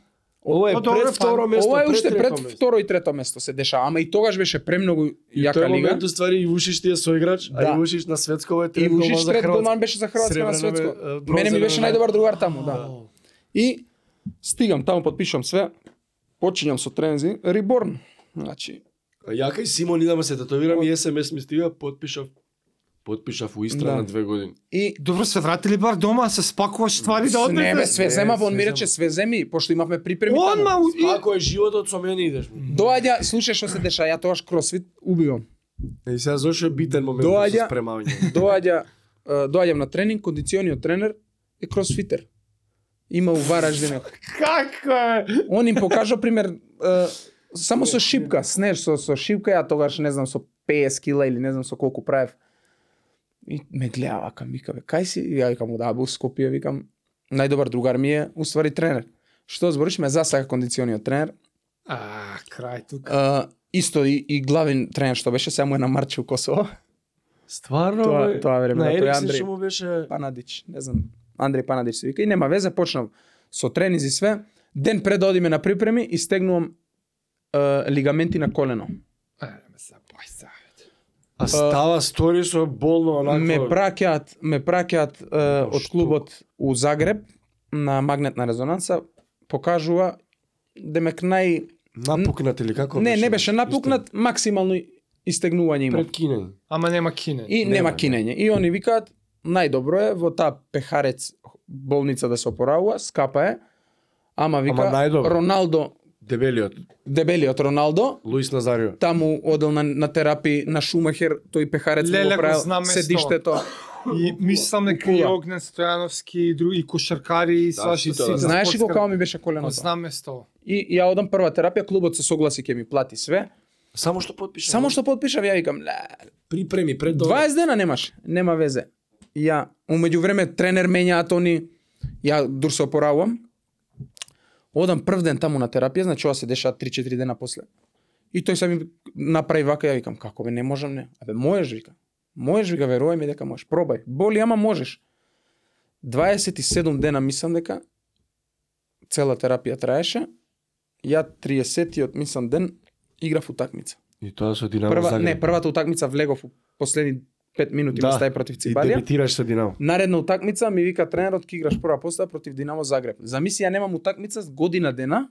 S2: Ова е
S1: Па добро,
S2: пред
S1: па,
S2: второ место.
S3: да. Ова е
S2: пред
S3: уште
S2: трето
S3: пред
S2: место.
S3: второ и трето место се дешава, ама и тогаш беше премногу
S2: Тој
S3: јака лига.
S2: момент уствари Ивушиш ти е соиграч,
S3: Да.
S2: а Ивушиш на светско е
S3: И
S2: трет голман
S3: Вушич
S2: за
S3: трет
S2: Хрватска.
S3: голман беше за Хрватска на
S2: Сребрено бе,
S3: светско.
S2: е, бронзено
S3: Мене ми беше
S2: бе,
S3: најдобар другар таму, да. И стигам таму, подпишувам све, почињам со трензи, Риборн. Значи,
S2: Јака и Симон идаме се татуирам и СМС ми стига, подпишав подпишав у Истра
S3: Да.
S2: на две години.
S3: и
S1: Добро се вратили бар дома, се спакуваш ствари да
S3: не бе,
S1: одмете.
S3: све зема,
S2: све
S3: он ми
S2: зема.
S3: рече све земи, пошто имавме припреми да таму.
S1: Онма у- и-
S2: Ако е животот со мене идеш. му.
S3: Доаѓа, слушај што се деша, ја тогаш кросфит убивам.
S2: И сега зошто е битен момент да
S3: Доаѓа-
S2: со спремање.
S3: Доаѓа, е, доаѓам на тренинг, кондициониот тренер е кросфитер. Има у Вараждинот.
S1: Како е?
S3: Он им покажа пример е, само со шипка, снеж со со шипка, ја тогаш не знам со 50 кила или не знам со колку правев. И ме гледа вака, ми вика, бе, кај си? Ја викам, да, бе, у Скопје, викам, најдобар другар ми е, уствари тренер. Што збориш, ме засака кондициониот тренер.
S1: А, крај тука.
S3: Е, исто и, и главен тренер што беше, сега му е на Марче у Косово.
S2: Стварно
S3: Тоа-
S2: бе,
S3: тоа време,
S2: на
S3: да, тој
S2: Ериксен
S3: Андреј.
S2: што му беше
S3: Панадич, не знам, Андреј Панадич се вика. И нема везе, почнав со тренизи све. Ден пред да одиме на припреми, и стегнувам е, лигаменти на колено.
S1: Е, ме се бај савет.
S2: а става стори со болно онако.
S3: Ме праќаат, ме праќаат е, од
S2: што?
S3: клубот у Загреб на магнетна резонанса, покажува демек нај
S2: напукнат или како
S3: не не беше напукнат, максимално истегнување има.
S2: пред кинење.
S1: Ама нема кине.
S3: И нема
S2: нема,
S3: кинење. И они викаат најдобро е во таа пехарец болница да се опоравува, скапа е. Ама вика
S2: најдобро.
S3: Роналдо,
S2: Дебелиот
S3: дебелиот Роналдо,
S2: Луис Назарио.
S3: таму одел на, на терапи на Шумахер, тој пехарец му
S1: Леле,
S3: го
S1: го
S3: правил
S1: знам местото.
S3: седиштето.
S1: И мислам дека и
S3: Кула.
S1: Огнен Стојановски и други кошаркари и свашто
S2: сите,
S1: сите.
S2: да.
S3: Знаеш ли
S1: спортска-
S3: како ми беше
S1: Па,
S3: коленото?
S1: Знам место.
S3: И ја одам прва терапија, клубот се согласи ќе ми плати све.
S2: Само што подпиша.
S3: Само што подпишав ја викам, ле,
S2: припреми пред дома.
S3: 20 дена немаш, нема везе. Ја умеѓу време тренер менјаат они, ја дур се опоравувам. Одам прв ден таму на терапија, значи ова се деша 3-4 дена после. И тој сами направи вака, ја викам, како бе, не можам, не. Абе, можеш, вика. Можеш, вика, верувај ми дека можеш. Пробај. Боли, ама можеш. 27 дена мислам дека цела терапија траеше. Ја 30-тиот мислам ден играв утакмица.
S2: И тоа со Динамо
S3: Прва,
S2: Загреб.
S3: не, првата утакмица влегов у последни 5 минути да.
S2: Да.
S3: стај против
S2: И
S3: Цибалија.
S2: дебитираш со Динамо.
S3: Наредна утакмица ми вика тренерот ќе играш прва постава против Динамо Загреб. Замисли ја немам утакмица с година дена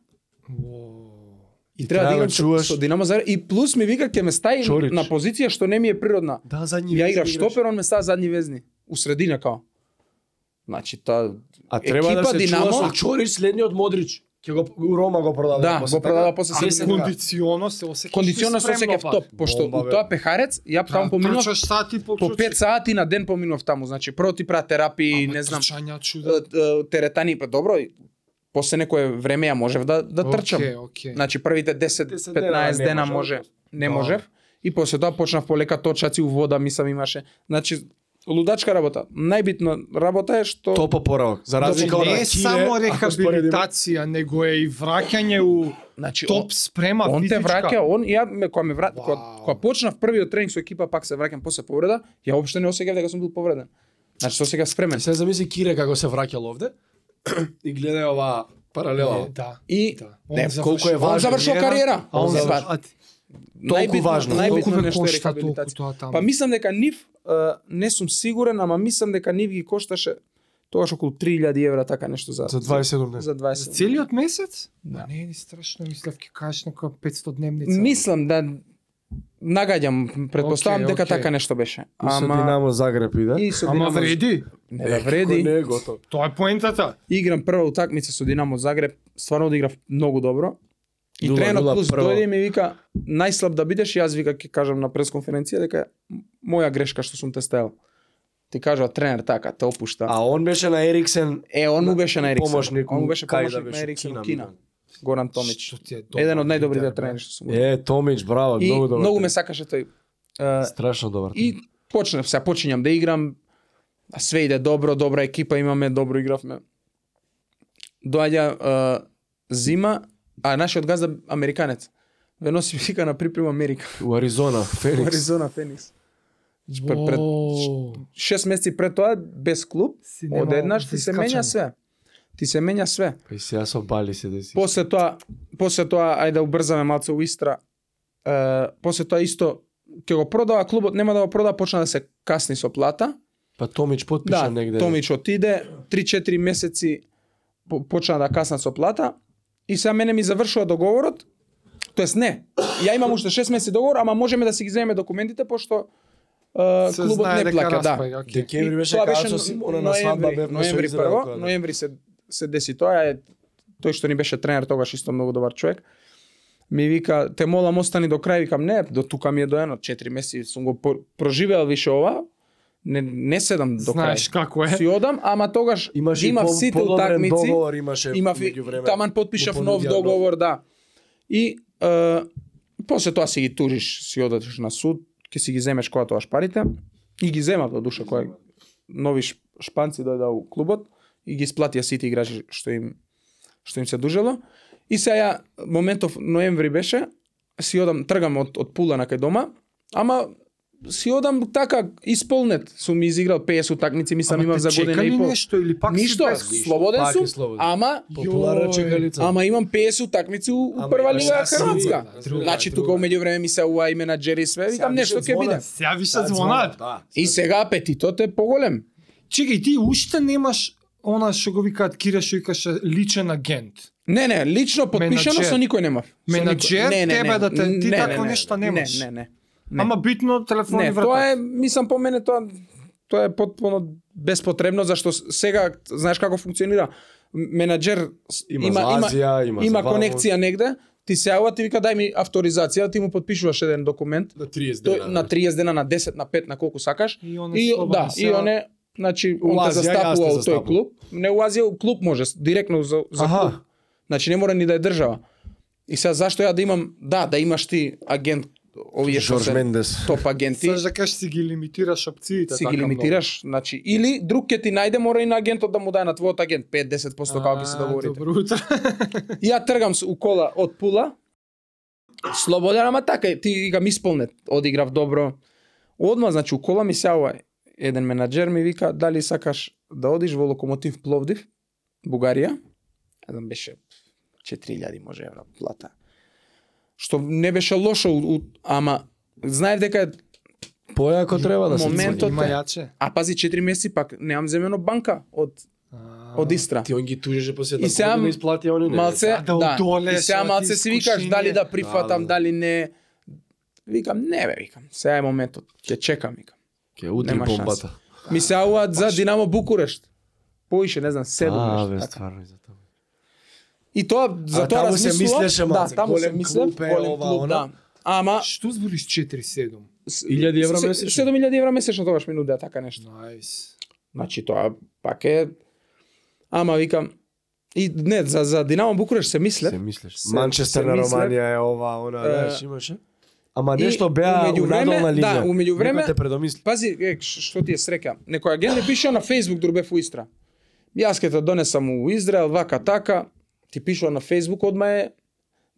S3: и треба да играм со,
S2: чуваш.
S3: со Динамо Загреб и плюс ми вика ќе ме стави
S2: Чорич.
S3: на позиција што не ми е природна.
S2: Да, задњи.
S3: Ја
S2: вези
S3: играв штопер, он ме става задни везни, у средина као. Значи та
S2: А треба
S3: екипа
S2: да се
S3: Динамо-
S2: Динамо... чува со Чорич следниот Модрич. Ќе го Рома го продаде.
S3: Да,
S2: после
S3: го продава
S2: така.
S3: после
S2: А,
S3: 70
S2: секунди.
S1: Кондиционно се осеќаш.
S3: кондиционно се осеќав топ, пошто
S2: Бомба,
S3: у
S2: бе. Да.
S3: тоа пехарец ја таму поминував
S1: Да. Трчаш сати по
S3: по 5 сати на ден поминував таму, значи прво ти прават терапии, не знам,
S1: Трчања чуда.
S3: е, е, Да, теретани, па добро, и после некое време ја можев да, да трчам.
S1: Океј, океј.
S3: Значи првите
S2: 10 дена
S3: 10-15
S2: не
S3: дена
S2: можев.
S3: може, не
S1: Да.
S3: можев. И после тоа почнав полека точаци у вода, мислам имаше. Значи лудачка работа. Најбитна работа е што
S4: То попорал. Да. За
S1: Znači,
S4: разлика од
S1: ne
S4: нас.
S1: je
S2: Kine,
S1: samo
S2: ako
S1: rehabilitacija, nego je i vraćanje u
S3: значи
S1: top sprema
S3: он те
S1: fizička.
S3: враќа, он ја ме кога ме враќа, кога,
S1: Вау.
S3: кога почнав првиот тренинг со екипа, пак се враќам после повреда, ја општо не осеќав дека сум бил повреден. Значи се осеќав спремен.
S4: Се замисли Кире како се враќал овде и гледа ова паралела.
S1: E, Da,
S3: И
S1: da.
S4: Не,
S1: On završi-
S4: колку е
S3: он
S4: важно.
S3: завршил кариера.
S1: A on
S4: Za-
S1: završi- a ti-
S4: Толку важно.
S1: Колку
S3: најбитно
S1: ве
S3: нешто е
S1: кошта толку
S3: рехабилитација.
S1: тоа таму?
S3: Па мислам дека нив е, не сум сигурен, ама мислам дека нив ги кошташе тогаш околу 3000 евра така нешто за
S2: За 27 дена.
S3: за 20.
S1: Целиот месец?
S3: Да.
S1: Па Не, не страшно, мислав ќе кажеш некоја 500 дневница.
S3: Мислам да нагаѓам, предпоставам
S1: Океј,
S3: дека
S1: океј.
S3: така нешто беше.
S2: И со
S3: Ама
S2: Динамо Загреб иде.
S3: и со
S1: Ама
S3: Динамо
S1: вреди.
S3: не да
S2: Кој
S3: вреди.
S2: Не е готов.
S1: Тоа е поентата.
S3: Играм прва утакмица со Динамо Загреб, стварно одиграв многу добро. И
S4: Дула,
S3: тренерот
S4: дула,
S3: плюс
S4: прво.
S3: дојде и ми вика најслаб да бидеш, јас вика ќе кажам на пресконференција дека моја грешка што сум те ставил. Ти кажа тренер така, те опушта.
S4: А он беше на Ериксен
S3: Е, он му беше на Ериксен.
S4: помошник.
S3: он му
S4: у
S3: беше
S4: Кај да
S3: помошник на
S4: беше,
S3: Ериксен
S4: Кина,
S3: у Кина. Горан Томич.
S1: Што ти е добро,
S3: Еден од најдобрите
S1: лидер, бе.
S3: тренери што сум. го-
S4: да, Е, Томич, браво,
S3: И
S4: многу добар.
S3: многу ме
S4: тренер.
S3: сакаше тој. Е,
S4: Страшно добар.
S3: И почнав, се почињам да играм. А све иде добро, добра екипа имаме, добро игравме. Доаѓа е, зима, а нашиот газда американец. Ве носи вика на припрема Америка.
S4: У Аризона,
S3: во
S4: Феникс.
S3: Аризона Феникс. Па Пред, пред
S1: Воу.
S3: шест месеци пред тоа без клуб,
S1: Си немал
S3: одеднаш ти
S1: за
S3: се менја
S1: искачање.
S3: све. Ти се менја све.
S4: Па и сега со Бали се деси.
S3: После тоа, после тоа ајде убрзаме малце у Истра. Е, после тоа исто ќе го продава клубот, нема да го продава, почна да се касни со плата.
S4: Па Томич потпиша
S3: Да,
S4: негде.
S3: Томич отиде, 3-4 месеци по- почна да каснат со плата и сега мене ми завршува договорот. Тоест не, ја имам уште 6 месеци договор, ама можеме да си ги земеме документите пошто е,
S1: Се
S3: клубот
S1: знае
S3: не
S1: дека
S3: плака, да.
S1: распаѓа, окей.
S4: Декември
S3: И
S4: беше
S3: тоа
S4: кај со
S3: но-
S4: Симона на свадба
S3: ноември-
S4: бевме со
S3: Ноември
S4: Израел.
S3: прво,
S4: кога-
S3: ноември се се деси тоа е тој што ни беше тренер тогаш исто многу добар човек. Ми вика, те молам остани до крај, викам не, до тука ми е доено 4 месеци, сум го по- проживеал више ова. Не не седам до
S1: Знаеш
S3: крај.
S1: како е.
S3: Си одам, ама тогаш
S4: Имаше
S3: имав
S4: по-
S3: сите
S4: подобрен
S3: утакмици,
S4: договор имаше
S3: имав и-
S4: меѓувреме.
S3: таман потпишав
S4: Го
S3: нов
S4: понудија
S3: договор, да. И е, после тоа си ги тужиш, си одиш на суд, ќе си ги земеш кога тогаш парите и ги земав до душа кога нови шп- шпанци дојда у клубот и ги исплатија сите играчи што им што им се дужило. И сега ја, моментов ноември беше, си одам, тргам од, од пула на кај дома, ама си одам така исполнет, сум изиграл 50 утакмици, мислам
S1: Ама
S3: имав
S1: те
S3: за
S1: чека
S3: година
S1: ли
S3: и пол.
S1: нешто или пак
S3: Ништо,
S1: си без?
S3: слободен
S4: Пак е
S3: сум,
S4: слободен.
S3: ама
S4: Популарна
S1: Јој.
S4: чекалица.
S3: Ама имам 50 утакмици у, у
S4: Ама
S3: прва
S4: имаш
S3: лига
S4: шанси,
S3: Хрватска.
S4: друга, друга,
S3: Значи тука
S4: друга.
S3: у меѓувреме ми се уа и менаџери све, викам
S4: Сега
S3: нешто
S4: више
S3: ќе биде.
S4: звонат.
S1: Сега више
S4: Да,
S1: звонат.
S4: Да.
S3: И сега апетитот е поголем.
S1: Чекај, ти уште немаш она што го викаат Кира што викаше личен агент.
S3: Не, не, лично потпишано
S1: Менаџер.
S3: со никој немав. Со
S1: Менаџер,
S3: никој. Не, не,
S1: тебе
S3: не.
S1: да те- ти
S3: Не, не,
S1: тако
S3: не,
S1: нешта
S3: не,
S1: немаш.
S3: Не, не, не.
S1: Ама битно телефони
S3: Не,
S1: врата.
S3: тоа е, мислам по мене тоа тоа е потpuno беспотребно зашто с- сега знаеш како функционира. М- Менаџер с-
S4: Има,
S3: има
S4: за
S3: има
S4: Азија, има,
S3: има, има
S4: за Вамос.
S3: конекција негде, ти се јава, ти вика дај ми авторизација, ти му подпишуваш еден документ,
S4: На 30
S3: до,
S4: дена. да.
S3: на 30 дена, на 10, на 5, на колку сакаш.
S1: И он е
S3: И
S1: слободен
S3: да, и
S1: сега.
S3: оне значи
S4: У
S3: он
S4: Азија,
S3: те
S4: јас те
S3: застапува у
S4: застапувам.
S3: тој клуб. Не у Азија, у клуб може директно за за
S4: Аха.
S3: клуб. Значи не мора ни да е држава. И сега зашто ја да имам, да, да имаш ти агент овие што
S4: Жорж
S3: се
S4: Мендес.
S3: топ агенти,
S1: Саш да кажеш си ги лимитираш опциите
S3: си
S1: така
S3: ги лимитираш, значи или друг ќе ти најде мора и на агентот да му даде на твојот агент 5-10%
S1: многу.
S3: како ќе се да договорите.
S1: Добро утро.
S3: И ја тргам се у кола од Пула. Слободен, ама така, е, ти га ми исполнет, одиграв добро. Одма, значи, у кола ми се ова, еден менаџер ми вика, дали сакаш да одиш во Локомотив Пловдив, Бугарија. Еден беше 4000 може евра плата. Што не беше лошо, у- у- ама знаев дека е
S4: Појако треба да се
S3: моментот
S1: Има
S3: е.
S1: јаче.
S3: А пази 4 месеци пак немам земено банка од од Истра.
S4: Ти он ги тужеше после
S3: И сега
S4: да го исплати они не.
S3: малце,
S1: да
S3: да,
S1: одолеш,
S3: и сега
S1: да ти
S3: малце си викаш
S1: искушение.
S3: дали да
S4: Да, да,
S3: прифатам,
S4: да.
S3: дали не. Викам, не бе, викам, сега е моментот, ќе чекам, викам.
S4: Ке утри
S3: Нема шанси.
S4: бомбата.
S3: Ми се ауат за Динамо Букурешт. Поише, не знам, седум
S4: А,
S3: нешто
S4: бе,
S3: така.
S4: стварно и за тоа.
S3: И тоа, за
S4: А,
S3: тоа
S4: таму се
S3: размислувам,
S4: мислеше малце,
S3: да, таму се
S4: голем
S3: мислев,
S4: клуб е,
S3: голем
S4: ова,
S3: клуб,
S4: она.
S3: да. Ама,
S1: Што збориш 47?
S4: 1000 евра
S3: се-
S4: месечно? Да.
S3: 7000 евра месечно тогаш ми нудеа така нешто.
S1: Најс.
S3: Значи тоа пак е Ама викам и не за за Динамо Букуреш се мислев.
S4: Се мислеш.
S3: Се-
S4: Манчестер
S3: се
S4: на
S3: мислев.
S4: Романија е ова, она,
S3: Е,
S4: знаеш, имаше.
S2: Ама
S3: И
S2: нешто беа
S3: у
S2: унадолна
S3: меѓувреме- да,
S2: линија.
S3: у меѓувреме-
S2: Некој те предомисли.
S3: Пази, е, ш- што ти е среќа. Некој агент ми пишува на Facebook дурбев у Истра. Јас ке те донесам у Израел, вака така, ти пишува на Facebook одма е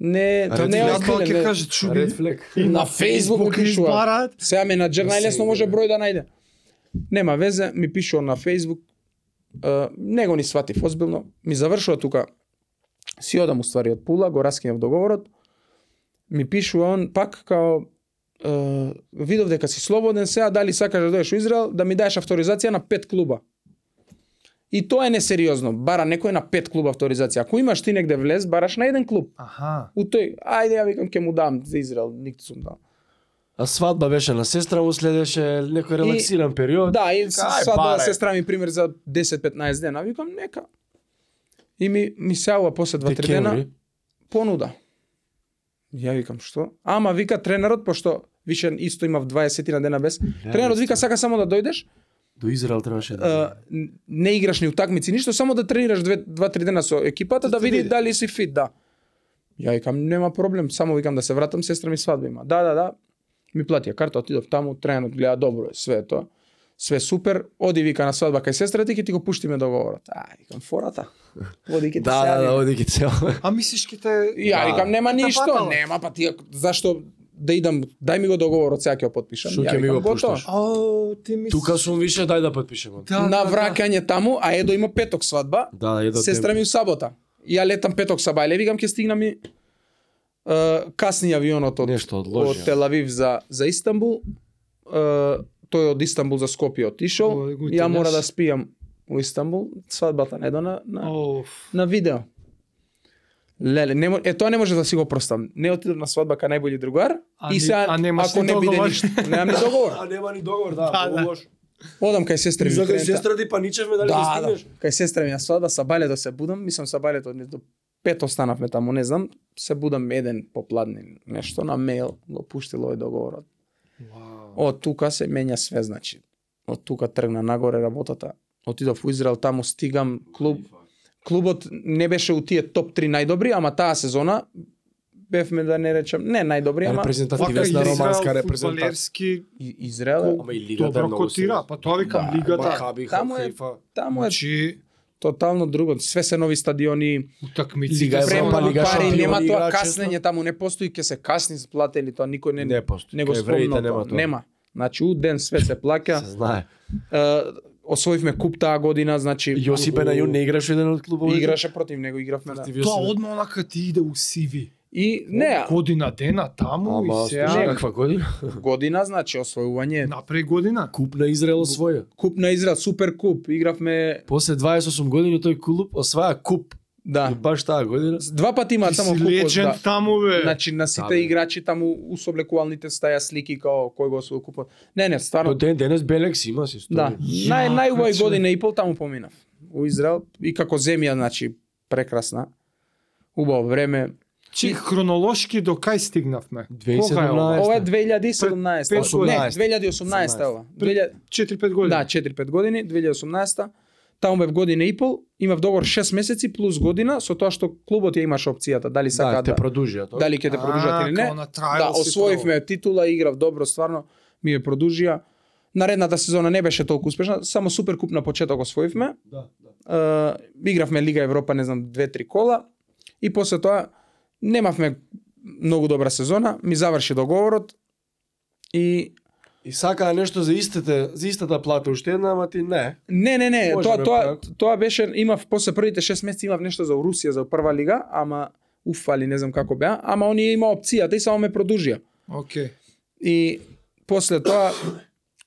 S3: не
S2: Ред
S3: не да. е
S2: флаг.
S1: Јас
S3: озбилен,
S1: ќе
S3: не.
S1: кажа чуби.
S2: Ред флек.
S1: И на
S3: Facebook
S1: Facebook избарат.
S3: Сега менаџер најлесно
S4: Сега,
S3: може
S4: бе.
S3: број да најде. Нема везе, ми пишува на Facebook. Е, не го ни сватив озбилно. Ми завршува тука. Си одам уствари од Пула, го раскинав договорот. Ми пишува он пак као е, видов дека си слободен сега, дали сакаш да дојдеш у Израел, да ми даеш авторизација на пет клуба. И тоа е несериозно. Бара некој на пет клуба авторизација. Ако имаш ти негде влез, бараш на еден клуб.
S1: Аха.
S3: У тој, ајде ја викам ќе му дам за Израел, никто сум дал.
S2: А свадба беше на сестра му, следеше некој релаксиран период.
S3: Да, и
S2: Кај,
S3: свадба
S2: баре.
S3: се страми пример за 10-15 дена, викам нека. И ми ми сеува после 2-3 дена
S2: Декември.
S3: понуда. Ја викам што? Ама вика тренерот пошто више исто имав 20 на дена без. тренерот вика сака само да дојдеш,
S2: До Израел требаше да.
S3: а, н- не играш ни утакмици, ништо, само да тренираш 2-3 дена со екипата да
S4: те
S3: види
S4: види.
S3: дали си фит, да. Ја викам нема проблем, само викам да се вратам, сестра ми свадба има. Да, да, да. Ми платија карта, отидов таму, тренот гледа добро е, све е тоа. Све супер, оди вика на свадба кај сестрата ти ќе ти го пуштиме договорот. А, викам фората. Оди ќе ти
S2: Да, да,
S3: сеја,
S2: да,
S3: викам.
S2: оди ги цел.
S1: А мислиш ке те... Да.
S3: Ја викам нема
S1: Та
S3: ништо,
S1: патала.
S3: нема па ти зашто да идам, дај ми го договорот, сега ќе го потпишам.
S4: Шо
S3: Ја
S4: ќе ми
S3: викам,
S4: го
S3: готово.
S4: пушташ?
S1: О, ти мислиш...
S4: Тука сум више, дај да подпишеме.
S1: Да, да,
S3: на
S1: да.
S3: враќање таму, а Едо има петок свадба,
S2: Да, едо
S3: сестра ми у сабота. Ја летам петок са Бајле, викам ќе стигнам и е, касни авионот од,
S2: Нешто
S3: од
S2: одложи.
S3: Тел Авив за за Истанбул. Е, тој од Истанбул за Скопје отишол.
S1: Ој, го
S3: Ја мора да
S1: теляш.
S3: спијам во Истанбул, свадбата не до на, на
S1: Оф.
S3: на видео. Леле, не, мо- е тоа не може да си го простам. Не отидов на свадба кај најбољи другар
S1: А
S3: и
S1: ни-
S3: сега
S1: а да немаш
S3: ако
S1: ни
S3: не биде
S1: договор.
S3: ништо, немам ни договор.
S4: А нема ни договор, да,
S1: Да,
S4: многу
S1: да.
S4: лошо.
S3: Одам кај сестра ми.
S4: За кај
S3: крента.
S4: сестра ти паничевме дали ќе
S3: Да, да.
S4: стигнеш.
S3: Кај сестра ми на свадба, са балето се будам, мислам са балето не до пет останавме таму, не знам, се будам еден попладне нешто на мејл, го пуштил овој договорот. Од тука се менја све, значи. Од тука тргна нагоре работата. Отидов у Израел, таму стигам клуб. Клубот не беше у тие топ 3 најдобри, ама таа сезона бевме да не речем, не најдобри, ама
S1: Вака
S4: Репрезентативна романска
S1: Израел
S4: репрезентација.
S1: футболерски
S3: И- Израел е
S4: Ама и да лигата е
S1: добро
S4: многу
S1: котира.
S4: сериозна.
S1: Па тоа викам,
S3: Да,
S1: лигата.
S4: Макаби,
S3: Таму е-
S4: Хайфа.
S3: таму е
S1: Значи,
S3: тотално друго, све се нови стадиони,
S1: утакмици. да
S2: Лига Европа,
S3: Према
S2: Лига
S3: пари,
S2: Шампиони
S3: нема тоа
S4: игра,
S3: каснење таму, не постои, ќе се касни за плата или тоа никој не, не,
S2: Не постои.
S3: не го
S2: Кај евреите
S3: спомна
S2: нема
S3: тоа.
S2: тоа.
S3: Нема. Значи, у ден све се плаќа.
S2: Да. Се знае.
S3: Е, освоивме куп таа година, значи...
S2: Јосип Бенајун не играше еден од клубовите.
S3: Играше против него, игравме да.
S4: Против
S1: Тоа
S4: Јосип-
S1: одма онака ти иде у CV.
S3: И не,
S1: Година дена таму
S2: Ама,
S1: и
S2: слушай,
S1: сега.
S2: каква година?
S3: година, значи, освојување.
S1: Напред година.
S2: Куп на Израел освоја.
S3: Куп на Израел, супер куп, игравме...
S2: После 28 години тој клуб осваја куп. И
S3: Да.
S2: баш таа година.
S3: Два пати
S1: Ти
S3: имаат само
S1: си
S3: купот, да.
S1: легенд таму, бе.
S3: Значи, на сите
S2: Да, бе.
S3: играчи таму у соблекувалните стаја слики, као кој го освоил купот. Не, не,
S2: До
S3: стварно,
S2: ден денес Белек си има си стои.
S3: Да, нај
S1: Ја,
S3: најубави
S1: каче.
S3: година и пол таму поминав. У Израел и како земја, значи, прекрасна. Убаво време.
S1: Чи хронолошки до кај стигнавме? Кога е ова?
S2: 2017.
S3: Ова е 2017.
S1: Пет-
S3: Не,
S2: пет-
S3: 2018 е ова. 2000
S1: 4-5 години.
S3: Да, 4-5 години, 2018 Таму бев година и пол, имав договор 6 месеци плюс година, со тоа што клубот ја имаше опцијата, дали
S2: Да,
S3: сака
S2: те
S3: да,
S2: продужија тоа.
S3: дали ќе те продужат или не. Да, освоивме титула, играв добро, стварно ми ја продужија. Наредната сезона не беше толку успешна, само супер куп на почеток освоивме.
S4: Да, да.
S3: Е, игравме Лига Европа, не знам, две-три кола и после тоа немавме многу добра сезона, ми заврши договорот и
S4: И сакаа нешто за истите, за истата плата уште една, ама ти не.
S3: не, не, не,
S4: Може
S3: тоа
S4: бе,
S3: тоа
S4: појако.
S3: тоа беше имав после првите 6 месеци имав нешто за Русија за прва лига, ама уфали, не знам како беа, ама оние има опцијата и само ме продужија.
S1: Океј.
S3: И после тоа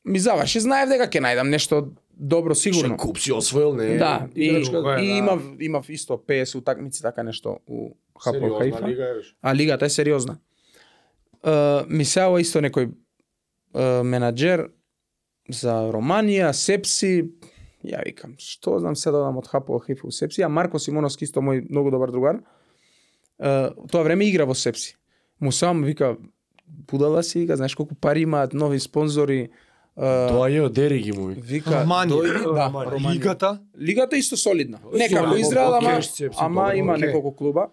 S3: ми заврши, знаев дека ќе најдам нешто добро
S4: Ше
S3: сигурно.
S4: куп си освоил, не.
S3: Да, и,
S4: играчка,
S1: да.
S3: и имав имав исто ПС утакмици така нешто у Хапо
S4: сериозна
S3: Хайфа.
S4: лига е, беше.
S3: А лигата е сериозна. Е, ми сеава исто некој е, менаџер за Романија, Сепси, ја викам, што знам се додам од Хапо Хифа у Сепси, а Марко Симоновски исто мој многу добар другар. Е, тоа време игра во Сепси. Му сам вика, будала си, вика, знаеш колку пари имаат, нови спонзори, е,
S2: Тоа е од Дериги му.
S3: вика,
S1: Романија.
S3: дојди- да,
S4: Романија.
S3: Романија.
S1: Лигата
S3: Лигата е исто солидна. Не
S4: Солидна,
S3: како Израел, ама,
S4: окей, Сепси,
S3: ама
S4: добро,
S3: има
S1: окей.
S3: неколку клуба.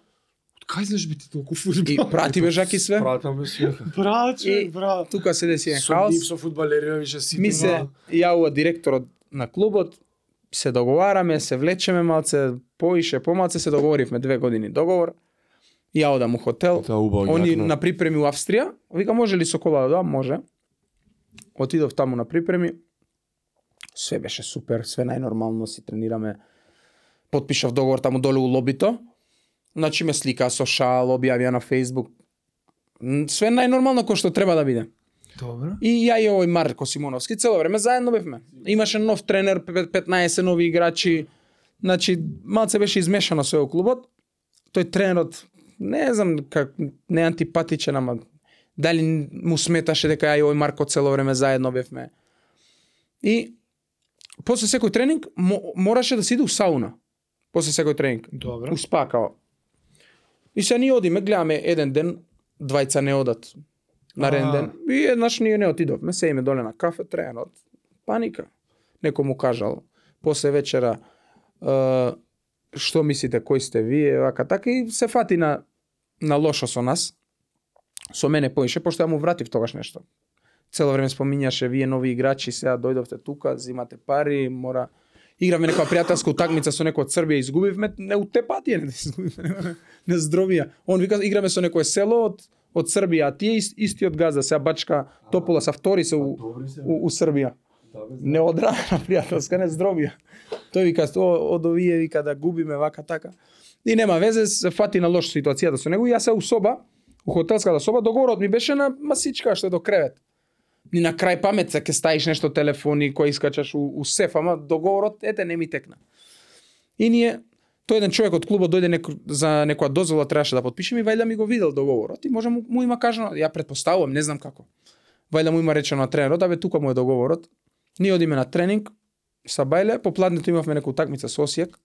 S1: Кај знаеш би ти толку
S3: И
S1: фудбал?
S3: прати бе жак и све.
S2: Пратам бе свеха.
S1: Брат,
S3: И-
S1: човек, брат.
S3: Тука се деси еден
S2: Со нив,
S3: хаос.
S2: со фудбалери, више си
S3: Ми се јавува директорот на клубот, се договараме, се влечеме малце, поише, помалце се договоривме две години договор. Ја одам у хотел.
S2: Тоа убаво.
S3: Они на припреми у Австрија, вика може ли со кола да додам? може. Отидов таму на припреми. Све беше супер, све најнормално си тренираме. Потпишав договор таму долу у лобито. Значи ме слика со шал, објавија на Facebook. М, Све најнормално кој што треба да биде.
S1: Добро.
S3: И ја и овој Марко Симоновски цело време заедно бевме. Имаше нов тренер, пе- 15 нови играчи. Значи, малце беше измешано се во клубот. Тој тренерот, не знам как, не е антипатичен, ама дали му сметаше дека ја и овој Марко цело време заедно бевме. И после секој тренинг мо- мораше да се иде у сауна. После секој тренинг
S1: Добро.
S3: успакао. И се ние одиме, гледаме еден ден, двајца не одат на
S1: А.
S3: рен ден. И еднаш ние не отидовме, седиме доле на кафе, тренот, паника. Некој му кажал, после вечера, е, што мислите, кој сте вие, вака, така, и се фати на, на лошо со нас. Со мене поише, пошто ја му вратив тогаш нешто. Цело време споминјаше, вие нови играчи, сега дојдовте тука, взимате пари, мора... Игравме некоја пријателска утакмица со некој од Србија, изгубивме, не утепатија, не изгубивме, не здровија. Он вика, играме со некое село од, од Србија, а тие ист, истиот газа, сега бачка топола са втори се у,
S2: Добри се. Да,
S3: у, у Србија. Не одрадена пријателска, не здробија. Тој вика, о, од овие вика да губиме вака така. И нема везе, се фати на лош ситуацијата со него. И Јас се у соба, у хотелската соба, договорот ми беше на масичка што е до кревет. Ни на крај памет се ке стаиш нешто телефони кој искачаш у, у сеф, ама договорот ете не ми текна. И ние тој еден човек од клубот дојде неко, за некоја дозвола требаше да подпишем и вајда ми го видел договорот и може му, му има кажано, ја предпоставувам, не знам како. Вајда му има речено на тренерот, абе тука му е договорот. Ние одиме на тренинг са Бајле, по пладнето имавме некоја утакмица со Осијек.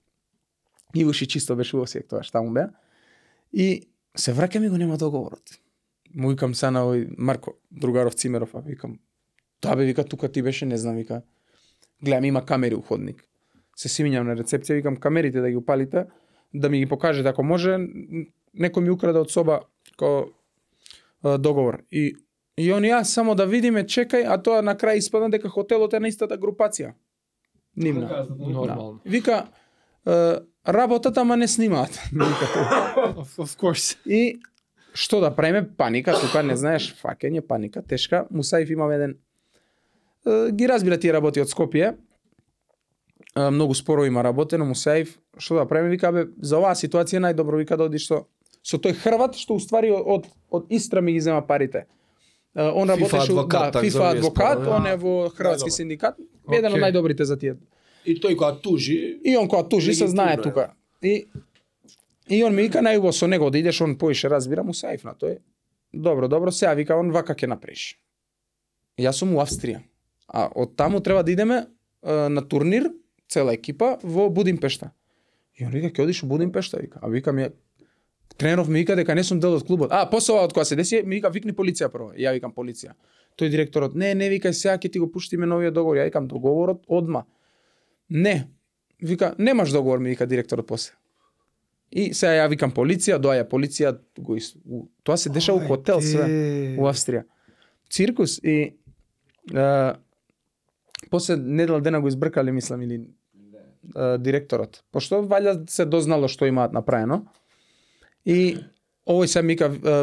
S3: Ивуши чисто беше во Осијек тоа, таму беа. И се враќам и го нема договорот. Му викам са на овој Марко Другаров Цимеров, а викам Тоа бе, вика, тука ти беше, не знам, вика. Гледам, има камери у ходник. Се симињам на рецепција, викам, камерите да ги упалите, да ми ги покажете, ако може, н- некој ми украде од соба ко, е, договор. И, и он и јас само да видиме, чекај, а тоа на крај испадна дека хотелот е на истата групација. Нивна.
S1: Нормално.
S3: Да. Вика, е, работат, ама не снимаат.
S1: Да. Of, of course.
S3: И што да правиме? Паника, тука не знаеш, фаќање, паника, тешка. Мусаев имам еден е, ги разбира тие работи од Скопје. Е, Многу споро има работено Мусаев. Што да правиме? Вика бе, за оваа ситуација е најдобро вика да одиш со со тој Хрват што уствари од од, од Истра ми ги зема парите. Е, Он работеше у-
S4: адвокат,
S3: да,
S4: така
S3: FIFA
S4: зове,
S3: адвокат,
S4: споро,
S3: он е во хрватски
S4: Најдобро.
S3: синдикат, еден од
S1: Океј.
S3: најдобрите за тие
S4: И тој која тужи,
S3: И он која тужи се
S4: Легитимно
S3: знае
S4: е.
S3: тука. И и он ми вика најубаво со него да идеш, он поише разбира му сајф на тој. Добро, добро, сега вика он вака ќе направиш. Јас сум у Австрија. А од таму треба да идеме е, на турнир цела екипа во Будимпешта. И он вика ќе одиш у Будимпешта, вика. А викам ја тренеров ми вика дека не сум дел од клубот. А, после ова од која се деси, ми вика викни полиција прво. Ја викам полиција. Тој директорот, не, не, викај сега ќе ти го пуштиме новиот договор. Ја викам договорот одма. Не. Вика, немаш договор, ми вика директорот после. И сега ја викам полиција, доаѓа полиција, го ис... у- тоа се деша у хотел све во Австрија. Циркус и а, после недела дена го избркале, мислам, или а, директорот. Пошто валја се дознало што имаат направено. И овој се мика а,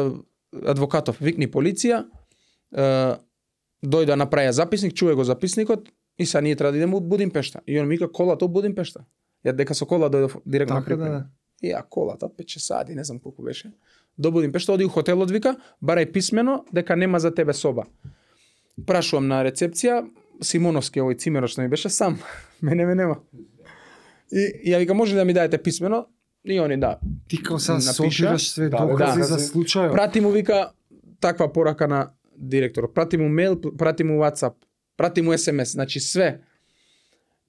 S3: адвокатов, викни полиција, а, дојда направија записник, чуе го записникот и са ние треба да идеме у Будимпешта. И он мика колата у Будимпешта. Ја дека со кола дојдов директно на
S1: Така да,
S3: припрема.
S1: да.
S3: И ја колата, 5-6 сати, не знам колку беше. До Будимпешта, оди у хотелот, вика, барај писмено дека нема за тебе соба. Прашувам на рецепција, Симоновски, овој цимеро што ми беше сам, мене ме нема. И ја вика, може ли да ми дадете писмено? И они да.
S1: Ти као са
S3: Напиша?
S1: собираш све
S2: Да, бе,
S1: докази
S3: да.
S1: за случајот.
S3: Прати му вика таква порака на директорот. Прати му мејл, прати му WhatsApp, прати му SMS, значи све.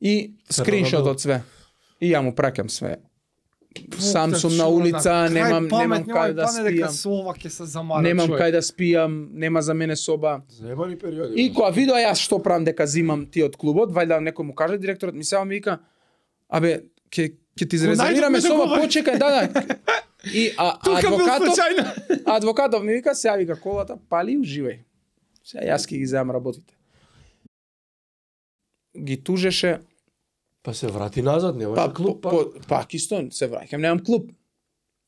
S3: И скриншот од све. И ја му праќам све.
S1: така
S3: Сам
S1: значи,
S3: сум на улица, немам немам кај да спијам.
S1: Со ова ќе се замара
S3: Немам
S1: човек.
S3: кај да спијам, нема за мене соба.
S2: Заебани периоди.
S3: И кога видоа јас што правам дека зимам ти од клубот, вајда некој му каже директорот ми сега ми вика, абе ќе ќе ти
S1: Го
S3: зарезервираме
S1: најдовме
S3: соба,
S1: договор.
S3: почекај, да, да. И а,
S1: Тука бил
S3: адвокатов,
S1: случайно.
S3: адвокатов ми вика, сега вика колата, пали и уживај. Сега јас ќе ги зајам работите. Ги тужеше,
S4: Па се врати назад, нема
S3: па,
S4: па,
S3: па,
S4: клуб. Па.
S3: па, пак исто, се враќам, немам клуб.